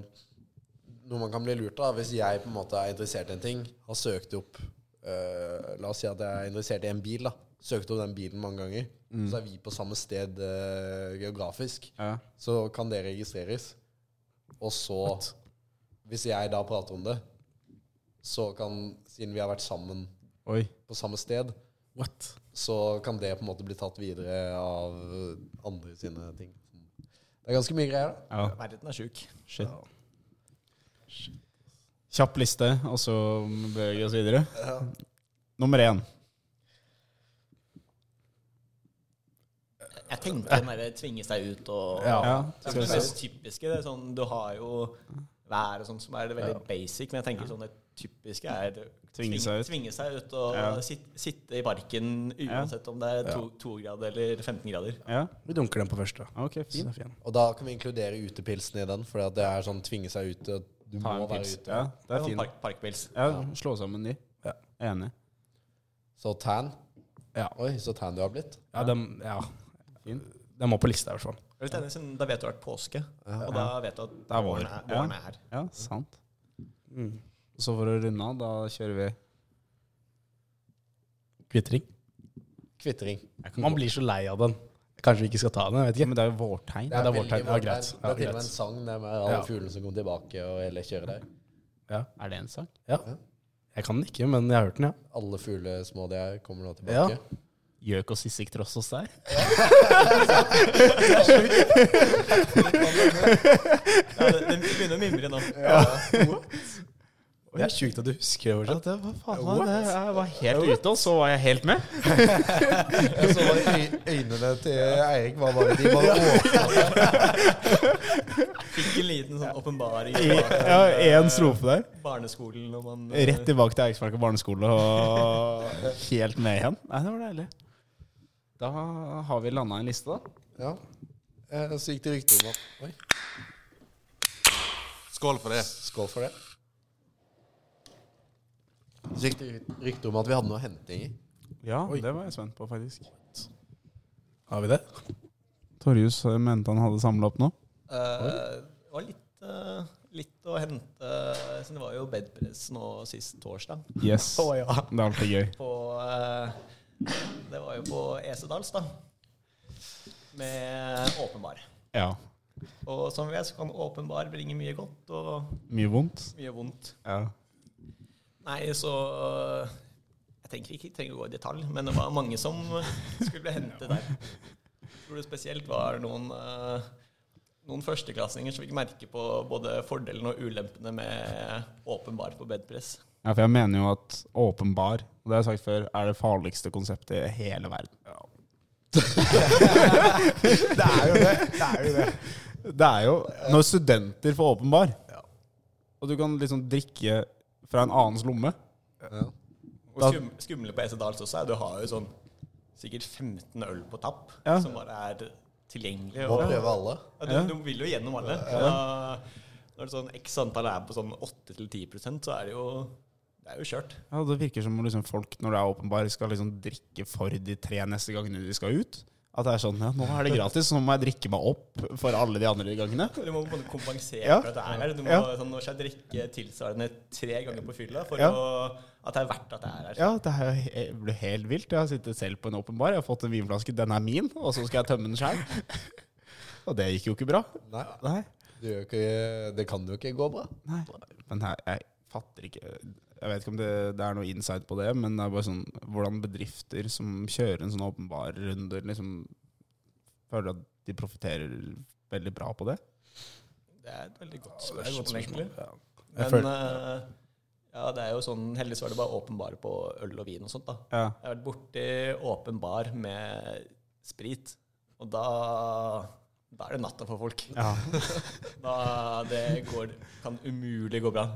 D: Noe man kan bli lurt av Hvis jeg på en måte er interessert i en ting Har søkt opp eh, La oss si at jeg er interessert i en bil da Søkt opp den bilen mange ganger Så er vi på samme sted eh, geografisk
C: Ja.
D: Så kan det registreres Og så Hvis jeg da prater om det Så kan, siden vi har vært sammen
C: Oi.
D: På samme sted
G: What?
D: så kan det på en måte bli tatt videre av andre sine ting. Det er ganske mye greier, da.
C: Ja.
F: Verden er sjuk.
C: Shit. Kjapp liste, og så beveger vi oss videre. Nummer én.
F: Jeg tenker den derre tvinge seg ut og
C: Ja.
F: Det er det mest typiske. Det er sånn, du har jo været og sånt som er det veldig basic, men jeg tenker sånn det typiske er det-
C: Tvinge seg ut.
F: tvinge seg ut og
C: Ja.
F: sit, sitte i parken uansett om det er to, to grader eller 15 grader.
C: Ja,
G: Vi dunker den på første.
C: ok,
G: Så
C: fint.
G: det er fint.
D: Og da kan vi inkludere utepilsen i den, for det er sånn tvinge seg ut. og Du må
C: Ta en
D: være
C: pils.
D: ute.
C: Ja, det er
F: Sånn
C: fint.
F: park, parkpils.
C: Ja, slå sammen de.
G: Ja.
C: Enig.
D: Så tan.
G: Ja.
D: Oi, så tan du har blitt.
G: Ja, den, ja. den må på lista, i hvert fall.
F: Jeg er litt enig, siden Da vet du det er påske, og da vet du at
C: er vår.
F: våren er, våren er her.
C: Ja, sant.
G: Mm.
C: Så for å runde av, da kjører vi
G: Kvitring.
D: Kvittering.
G: Man blir så lei av den. Kanskje vi ikke skal ta den? jeg vet ikke.
C: Men det er jo vårtegn.
G: Ja, det er
D: veldig
G: vårt tegn. Ja,
D: vårt
G: greit.
D: tegn.
G: Ja,
D: Det er til og med
G: greit.
D: en sang det med alle
G: Ja.
D: fuglene som kom tilbake og hele kjøret der.
C: Er det en sang?
G: Jeg kan den ikke, men jeg har hørt den, ja.
D: Alle fugler små de er, kommer nå tilbake.
C: Gjøk og sissik tross oss der?
F: Ja, det- Den begynner å mimre nå.
G: Det er sjukt at du husker det fortsatt.
C: det var faen meg det. Jeg var helt ute, og så var jeg helt med.
D: Jeg så bare øy- øynene til Eirik var bare De bare åpna
F: Fikk en liten sånn åpenbaring
C: Ja, Én strofe der.
F: i barneskolen når man
C: Rett tilbake til Eiksmarka barneskole og helt med igjen. Nei, det var deilig. Da har vi landa en liste, da.
D: Ja. Eh, Så gikk det rykter om at Oi,
H: Skål for det.
D: skål for det. Så gikk det ryk- rykter om at vi hadde noe hentinger.
C: Ja, det var jeg spent på, faktisk.
G: Har vi det?
C: Torjus eh, mente han hadde samla opp nå.
F: Eh, Det var litt, eh, litt å hente eh, Siden det var jo bedpress nå sist torsdag.
C: Yes.
F: Å, ja.
C: Det er alltid gøy.
F: På, eh, det var jo på Esedals, da. Med Åpenbar.
C: Ja.
F: Og som vi vet, så kan Åpenbar bringe mye godt og
C: Mye vondt.
F: mye vondt.
C: Ja.
F: Nei, så eh, Jeg tenker vi ikke trenger å gå i detalj, men det var mange som skulle bli hentet der. Jeg tror det spesielt var noen eh, noen førsteklassinger som fikk merke på både fordelene og ulempene med åpenbar på bedpress.
C: Ja, for jeg mener jo at åpenbar, og det har jeg sagt før, er det farligste konseptet i hele verden. det er jo det. Det er jo det. Det er jo når studenter får åpenbar, og du kan liksom drikke fra en annens lomme
F: Og skum, skumle på Esedals også er du har jo sånn sikkert 15 øl på tapp
C: Ja.
F: som bare er tilgjengelig.
D: Må
F: Og, ja,
D: prøve alle.
F: du, du vil jo gjennom alle. Og da, når det sånn x antall er på sånn 8-10 så er det jo det er jo kjørt.
C: Ja, Det virker som om liksom folk når det er åpenbar, skal liksom drikke for de tre neste gangene de skal ut. At det er sånn ja, nå er det gratis, så nå må jeg drikke meg opp for alle de andre gangene.
F: Du må på en måte kompensere
C: Ja.
F: for at det er her. Du må
C: Ja.
F: sånn, nå skal jeg drikke tilsvarende tre ganger på fylla for
C: Ja.
F: å, at det er verdt at det er her.
C: Ja, det er jo he- blir helt vilt. Jeg har sittet selv på en åpen bar. Jeg har fått en vinflaske. Den er min, og så skal jeg tømme den sjøl. Og det gikk jo ikke bra.
D: Nei,
C: Nei.
D: det, gjør jo ikke, det kan jo ikke gå bra.
C: Nei. Men jeg, jeg fatter ikke Jeg vet ikke om det, det er noe insight på det, men det er bare sånn hvordan bedrifter som kjører en sånn åpen bar-runde, liksom føler at de profitterer veldig bra på det.
F: Det er et veldig godt spørsmål, egentlig.
G: Jeg
F: Men eh, ja, det er jo sånn, heldigvis var det bare åpenbare på øl og vin og sånt. da.
C: Ja.
F: Jeg har vært borti åpen bar med sprit, og da, da er det natta for folk. da det går, kan umulig gå bra.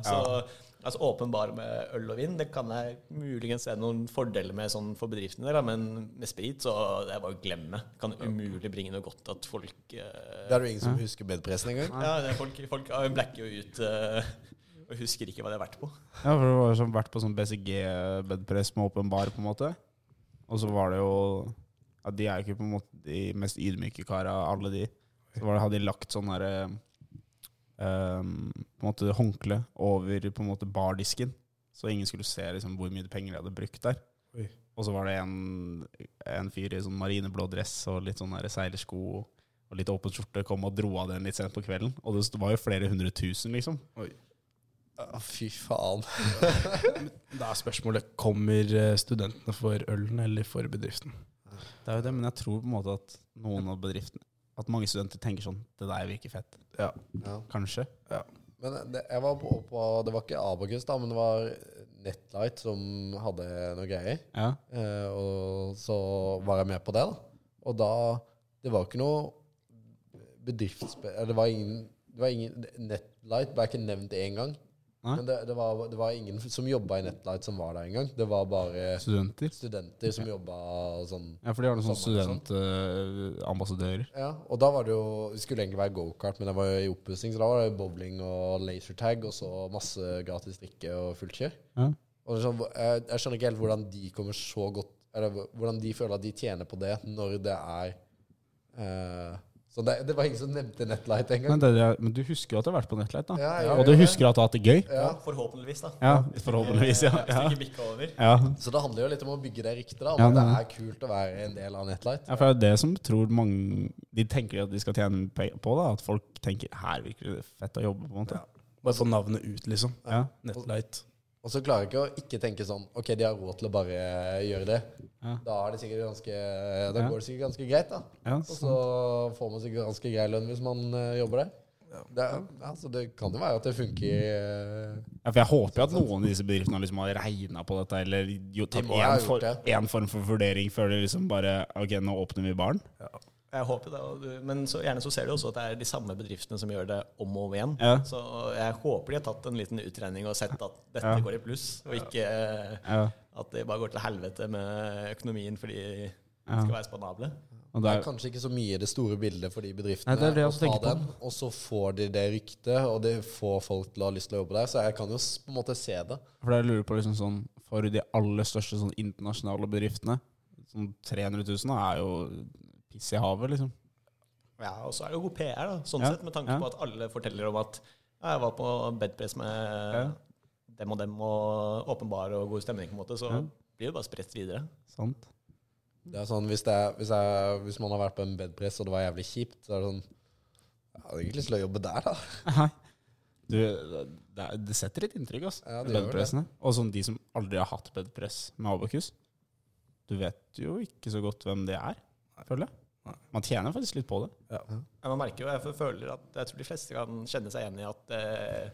F: Så altså, åpen bar med øl og vin, det kan jeg muligens se noen fordeler med sånn for bedriftene, der, da, men med sprit så det er bare å glemme. Kan umulig bringe noe godt at folk eh,
D: Det er jo ingen som husker bedpressen engang.
F: ja, det er folk, folk ah, blacker jo ut eh, og husker ikke hva de har vært på.
C: Ja, for det var sånn, vært på sånn BCG-bedpress med åpen bar, på en måte. Og så var det jo ja, De er jo ikke på en måte de mest ydmyke kara, alle de. Så var det, hadde de lagt sånn derre ehm, På en måte håndkle over på en måte bardisken. Så ingen skulle se liksom, hvor mye penger de hadde brukt der.
G: Oi.
C: Og så var det en, en fyr i sånn marineblå dress og litt sånn derre seilersko og litt åpen skjorte kom og dro av den litt sent på kvelden. Og det st- var jo flere hundre tusen, liksom.
D: Å, Fy faen.
G: Da er spørsmålet kommer eh, studentene for ølen eller for bedriften.
C: Det er jo det, men jeg tror på en måte at noen av bedriftene At mange studenter tenker sånn Det der virker fett.
G: Ja.
D: Ja.
C: Kanskje.
D: eh, Men det, jeg var på, på Det var ikke Abakus, da, men det var Netlight som hadde noe greier.
C: Ja.
D: Eh, og så var jeg med på det, da. Og da Det var ikke noe bedriftsbe... eller Det var ingen, det var ingen Netlight ble ikke nevnt én gang.
C: Nei.
D: Men det, det, var, det var ingen som jobba i Netlight som var der engang. Det var bare
C: Studenter.
D: studenter som jobba sånn.
C: Ja, for de har noen sånne
D: Sommer,
C: studentambassadører.
D: Ja, og da var det jo Det skulle egentlig være gokart, men det var jo i oppussing, så da var det bowling og lasertag og så masse gratis drikke og fullt kjør.
C: Ja.
D: Og sånn, jeg, jeg skjønner ikke helt hvordan de kommer så godt Eller hvordan de føler at de tjener på det når det er eh, Så det, det var ingen som nevnte Netlight engang.
C: Men, det, er- men du husker jo at du har vært på Netlight, da.
D: Ja, jeg gjør
C: og du
D: det.
C: husker at du har hatt det gøy?
D: Ja.
F: Forhåpentligvis, da.
C: Ja, forhåpentligvis. Ja.
F: Hvis du ikke bikker over.
C: Ja.
D: Så det handler jo litt om å bygge det riktig, da. Om
C: Ja,
D: at det
C: det er
D: er kult å være en del av Netlight.
C: Ja, for det er jo det som tror mange De tenker at de skal tjene pe- på, da. At folk tenker her virker det fett å jobbe, på en måte.
G: Bare få navnet ut, liksom.
C: Ja.
G: Netlight.
D: Og så klarer jeg ikke å ikke tenke sånn OK, de har råd til å bare gjøre det.
C: Ja.
D: Da, er det sikkert ganske, da
C: Ja.
D: går det sikkert ganske greit, da.
C: Ja,
D: Og så får man sikkert ganske grei lønn hvis man eh, jobber der. Det, er- altså, det kan jo være at det funker eh,
C: Ja, for jeg håper jo at noen av disse bedriftene liksom har regna på dette, eller jo, tatt
D: må ha
C: én
D: gjort
C: for,
D: det.
C: en form for vurdering før de liksom bare Ok, nå åpner vi baren.
F: Jeg håper det, og du- men så gjerne så ser du også at det er de samme bedriftene som gjør det om og om igjen.
C: Ja.
F: Så jeg håper de har tatt en liten utregning og sett at dette
C: Ja.
F: går i pluss, og ikke eh,
C: Ja.
F: at det bare går til helvete med økonomien fordi de
C: Ja.
F: skal være spanable.
C: Og
D: Det
C: det
D: er
C: er,
D: kanskje ikke så mye i det store bildet for de bedriftene.
C: Nei, det er det jeg
D: å
C: også tenker
D: ta
C: på.
D: og så får de det ryktet, og det får folk til å ha lyst til å jobbe der. Så jeg kan jo s- på en måte se det.
C: for jeg lurer på liksom sånn For de aller største sånn internasjonale bedriftene, sånn 300 000, da, er jo piss i havet, liksom.
F: Ja, og så er det jo god PR, da, sånn
C: Ja.
F: sett, med tanke
C: Ja.
F: på at alle forteller om at ja, jeg var på bedpress med
C: Ja.
F: dem og dem, og åpenbar og god stemning, på en måte, så
C: Ja.
F: blir det bare spredt videre.
C: Sant.
D: Det er sånn, hvis, det er, hvis, jeg, hvis man har vært på en bedpress, og det var jævlig kjipt, så er det sånn Jeg hadde ikke lyst til å jobbe der, da.
C: Nei. Du, det, er- det setter litt inntrykk, altså.
D: Ja, det gjør det.
C: bedpressene. Og sånn de som aldri har hatt bedpress med Abokus. Du vet jo ikke så godt hvem det er, føler jeg. Man tjener faktisk litt på det.
F: Ja, man merker jo, jeg føler at jeg tror de fleste kan kjenne seg igjen i at, eh,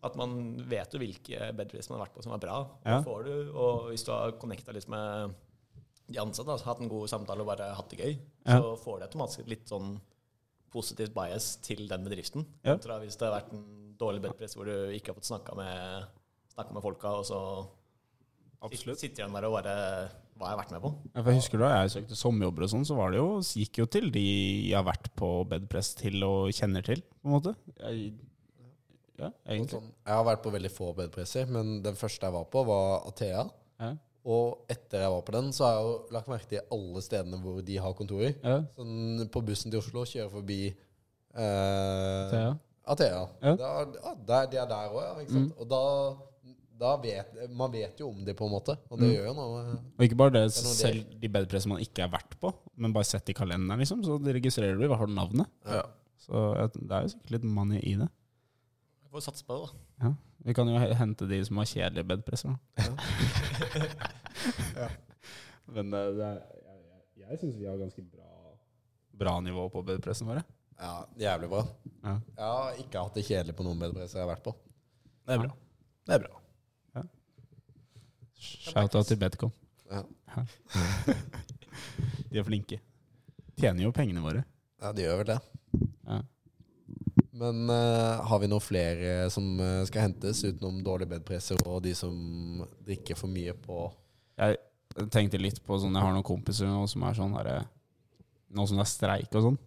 F: at man vet jo hvilke bedrifter man har vært på som er bra. Ja.
C: Ja.
F: får du, og hvis du har connecta litt med de ansatte, altså hatt en god samtale og bare hatt det gøy,
C: Ja.
F: så får du automatisk et litt sånn positivt bias til den bedriften.
C: Ja.
F: Kontra hvis det har vært en dårlig bedrift hvor du ikke har fått snakka med, snakket med folka, og så Absolutt. sitter igjen der og bare Hva har jeg vært med på?
C: Ja, for jeg husker da jeg søkte sommerjobber og sånn, så var det jo, gikk jo til de jeg har vært på bedpress til og kjenner til, på en måte. Jeg, ja,
D: Og
C: egentlig.
D: Sånn, jeg har vært på veldig få bedpresser, men den første jeg var på, var Athea.
C: Ja.
D: Og etter jeg var på den, så har jeg jo lagt merke til alle stedene hvor de har kontorer.
C: Ja,
D: Sånn, på bussen til Oslo kjører forbi eh,
C: Thea.
D: Athea.
C: Ja. Mm.
D: Da, ja, der, de er der òg, ja. Ikke sant? Og da, da vet Man vet jo om de, på en måte. Og
C: Mm.
D: det gjør jo noe.
C: Og ikke bare det,
D: sånn- er noe
C: selv de bedpress man ikke har vært på, men bare sett i kalenderen, liksom, så det registrerer du i hvert fall navnet.
D: Ja.
C: Så jeg, det er jo sikkert litt money i det.
F: Jeg får satse på det, da.
C: Ja. Vi kan jo he- hente de som har kjedelige bedpresser, da. Men eh, det er, jeg, jeg, jeg syns vi har ganske bra, bra nivå på bedpressene våre.
D: ja, jævlig bra.
C: Ja.
D: Jeg har ikke hatt det kjedelig på noen bedpresser jeg har vært på.
G: Det er bra. Det er bra.
C: Shout-out til Bedcom.
D: Ja.
C: De er flinke. Tjener jo pengene våre.
D: Ja, det gjør vel det.
C: Ja.
D: Men eh, har vi noen flere som eh, skal hentes, utenom dårlige bedpresser og de som drikker for mye på
C: Jeg tenkte litt på sånn Jeg har noen kompiser nå som er sånn herre Nå som det er streik og sånn.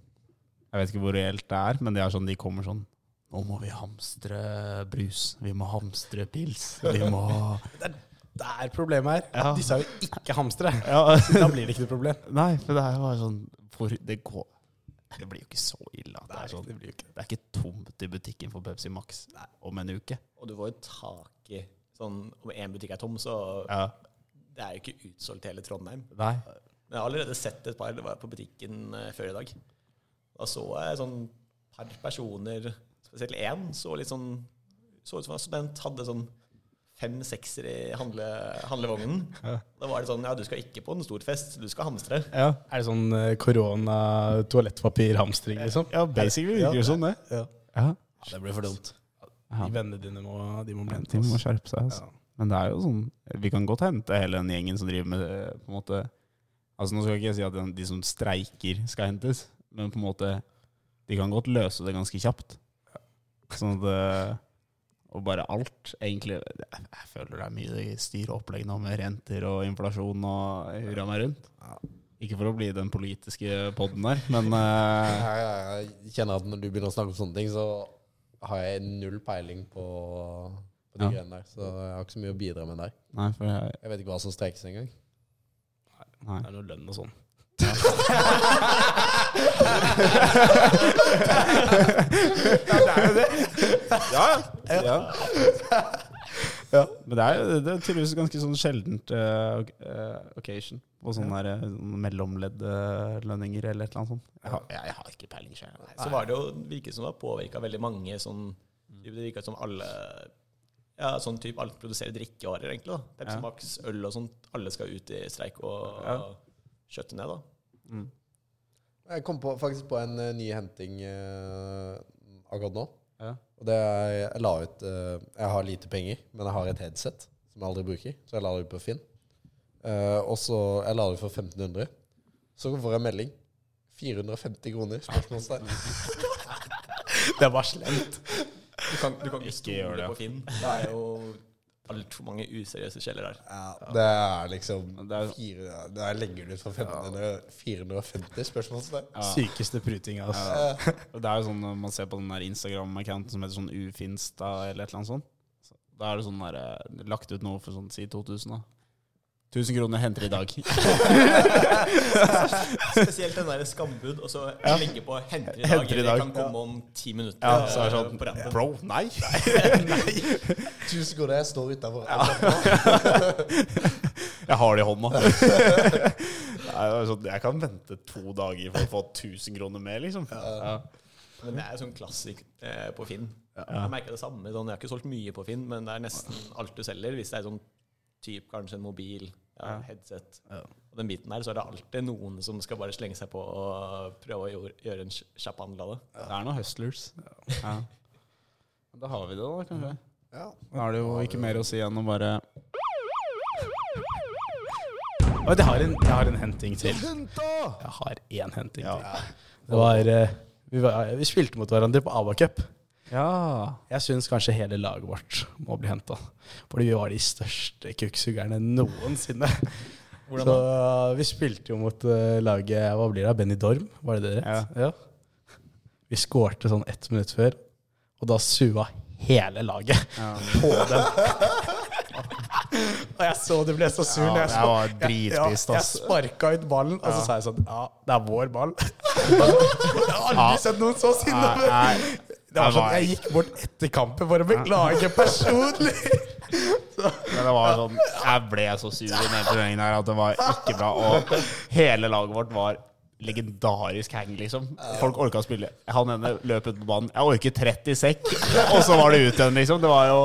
C: Jeg vet ikke hvor reelt det er, men det er sånn de kommer sånn Nå må vi hamstre brus. Vi må hamstre pils. Vi må
G: Det er problemet her.
C: Ja.
G: Disse er jo ikke hamstere.
C: Ja.
G: Da blir det ikke noe problem.
C: Nei, for det er jo bare sånn hvor, det, går, det blir jo ikke så ille. at Det er, sånn, det, er ikke tomt i butikken for Pepsi Max om en uke.
F: Og du får jo tak i sånn Om én butikk er tom, så
C: Ja.
F: Det er jo ikke utsolgt hele Trondheim.
C: Nei.
F: Men jeg har allerede sett et par. Det var på butikken eh, før i dag. Da så jeg sånn par personer, spesielt én, så litt sånn Så ut som han var student, hadde sånn fem sekser i handle, handlevognen. Da var det sånn Ja, du skal ikke på en stor fest, du skal hamstre.
G: Er det sånn eh, korona-toalettpapir-hamstring, liksom?
C: Ja, basically
G: Ja.
C: virker det sånn, det.
G: Ja.
C: Ja.
G: det blir for dumt.
C: Ja.
G: De vennene dine må, de må bli
C: De må skjerpe seg. Altså.
G: Ja.
C: Men det er jo sånn Vi kan godt hente hele den gjengen som driver med det, på en måte Altså Nå skal ikke jeg si at den- de som streiker, skal hentes, men på en måte De kan godt løse det ganske kjapt. Sånn at eh, Og bare alt, egentlig. Jeg, jeg føler det er mye styr og opplegg nå med renter og inflasjon og hurra meg rundt. Ikke for å bli den politiske podden der, men eh,
D: Jeg, jeg, jeg kjenner at når du begynner å snakke om sånne ting, så har jeg null peiling på, på de
C: Ja.
D: greiene der. Så jeg har ikke så mye å bidra med der.
C: Nei, for jeg
D: Jeg vet ikke hva som streikes engang.
C: Nei.
G: Det er noe lønn og sånn.
C: Men det er, jo- det er tydeligvis ganske sånn sjeldent eh, ok- eh, occasion på sånne der, eh, sånne mellomleddlønninger eller et eller annet sånt. Jeg har, jeg, jeg har ikke peiling sjøl.
F: Så var det jo, virket som det påvirka veldig mange. Sånn, det virket som alle ja, sånn type, alle produserer drikkevarer, egentlig. da. Pepsi
C: Ja.
F: Max, øl og sånt. Alle skal ut i streik og
C: Ja.
F: kjøtte ned, da.
D: Jeg kom på, faktisk på en eh, ny henting eh, akkurat nå.
C: Ja.
D: Og det er, jeg la ut eh, Jeg har lite penger, men jeg har et headset som jeg aldri bruker. Så jeg la det ut på Finn. Eh, og så Jeg la det ut for 1500. Så får jeg en melding. 450 kroner? Spørsmålstegn.
G: Det var slemt.
F: Du kan, du kan ikke
C: gjør
F: stole
C: det.
F: på Finn. Det er jo altfor mange useriøse kjeller der.
D: Ja, det er liksom
C: Det er-
D: fire, ja, det er Legger du ut for 1500? 450? Spørsmålstegn.
G: Sykeste prutinga, altså.
C: Det er jo sånn når man ser på den der Instagram-accounten som heter sånn Ufinsta eller et eller annet sånt. Så, da er det sånn der, eh, lagt ut noe for sånn si 2000, da. 1000 kroner henter i dag.
F: Spesielt den der skambud, og så legge på 'henter i dag'.
C: Henter i dag.
F: Det kan komme om ti minutter.
C: Ja, så er det
F: eh,
C: sånn,
F: på rappen.
C: Bro, nei!
D: Tusen kroner, jeg står utafor.
C: Jeg har det i hånda. Nei, det er sånn, jeg kan vente to dager for å få 1000 kroner mer, liksom. Ja.
F: Men det er sånn klassisk eh, på Finn. Jeg merker det samme. Sånn, jeg har ikke solgt mye på Finn, men det er nesten alt du selger. Hvis det er sånn typ kanskje en mobil, ja, headset og den biten der, så er det alltid noen som skal bare slenge seg på og prøve å gjøre, gjøre en kj- kjapp handel av det.
C: Det er noen hustlers. Ja. Da har vi det, da, kanskje.
D: Ja.
C: Da er det jo ikke mer å si enn å bare
G: Og jeg har en, jeg har en henting til. Jeg har én henting til. Det var, eh, vi, var, vi spilte mot hverandre på Ava-cup.
C: Ja.
G: Jeg syns kanskje hele laget vårt må bli henta. Fordi vi var de største kukksugerne noensinne. Så vi spilte jo mot eh, laget Hva blir det? Benny Dorm, var det det rett? Ja. Vi skårte sånn ett minutt før, og da sua hele laget på dem. Og jeg så du ble så sur. når jeg så-
C: var dritpist,
G: ja, jeg
C: ass.
G: sparka ut ballen, og så sa jeg sånn Ja, det er vår ball. jeg har aldri sett noen så sinna.
C: Nei, nei.
G: Det var
C: Det
G: sånn,
C: var-
G: jeg gikk bort etter kampen for å beklage personlig.
C: Men det var sånn Jeg ble så sur i den turneringen her at det var ikke bra. Og hele laget vårt var legendarisk hang, liksom. Folk orka å spille. Han ene løp ut på banen. Jeg orker 30 sekk, og så var det ut igjen, liksom. Det var jo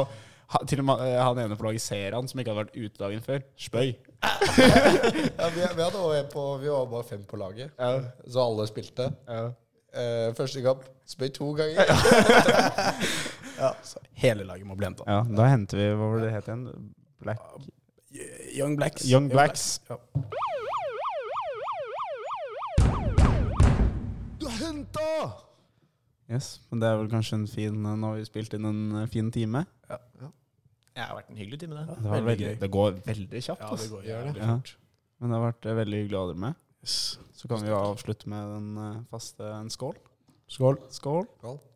C: ha- til og med eh, han ene på laget Seran, som ikke hadde vært ute dagen før, spøy.
D: Ja, vi, vi, hadde også en på, vi var bare fem på laget, så alle spilte. Eh, første kamp spøy to ganger.
G: Hele laget må bli henta.
C: Ja, da henter vi Hva var det det het igjen? Black
G: Young Blacks.
C: Young Blacks. Yes, men det er vel kanskje en fin eh, Nå har vi spilt inn en eh, fin time.
F: Jeg har vært en hyggelig time, det.
C: Det, var
G: Veldig
C: veldig,
G: gøy.
C: det går veldig kjapt.
G: Ja, det
C: ass.
G: går jævlig
C: Ja.
G: fort.
C: Men det har vært eh, veldig hyggelig å ha dere med.
G: Yes.
C: Så kan vi jo avslutte med den eh, faste en skål.
G: Skål.
C: Skål.
D: Skål.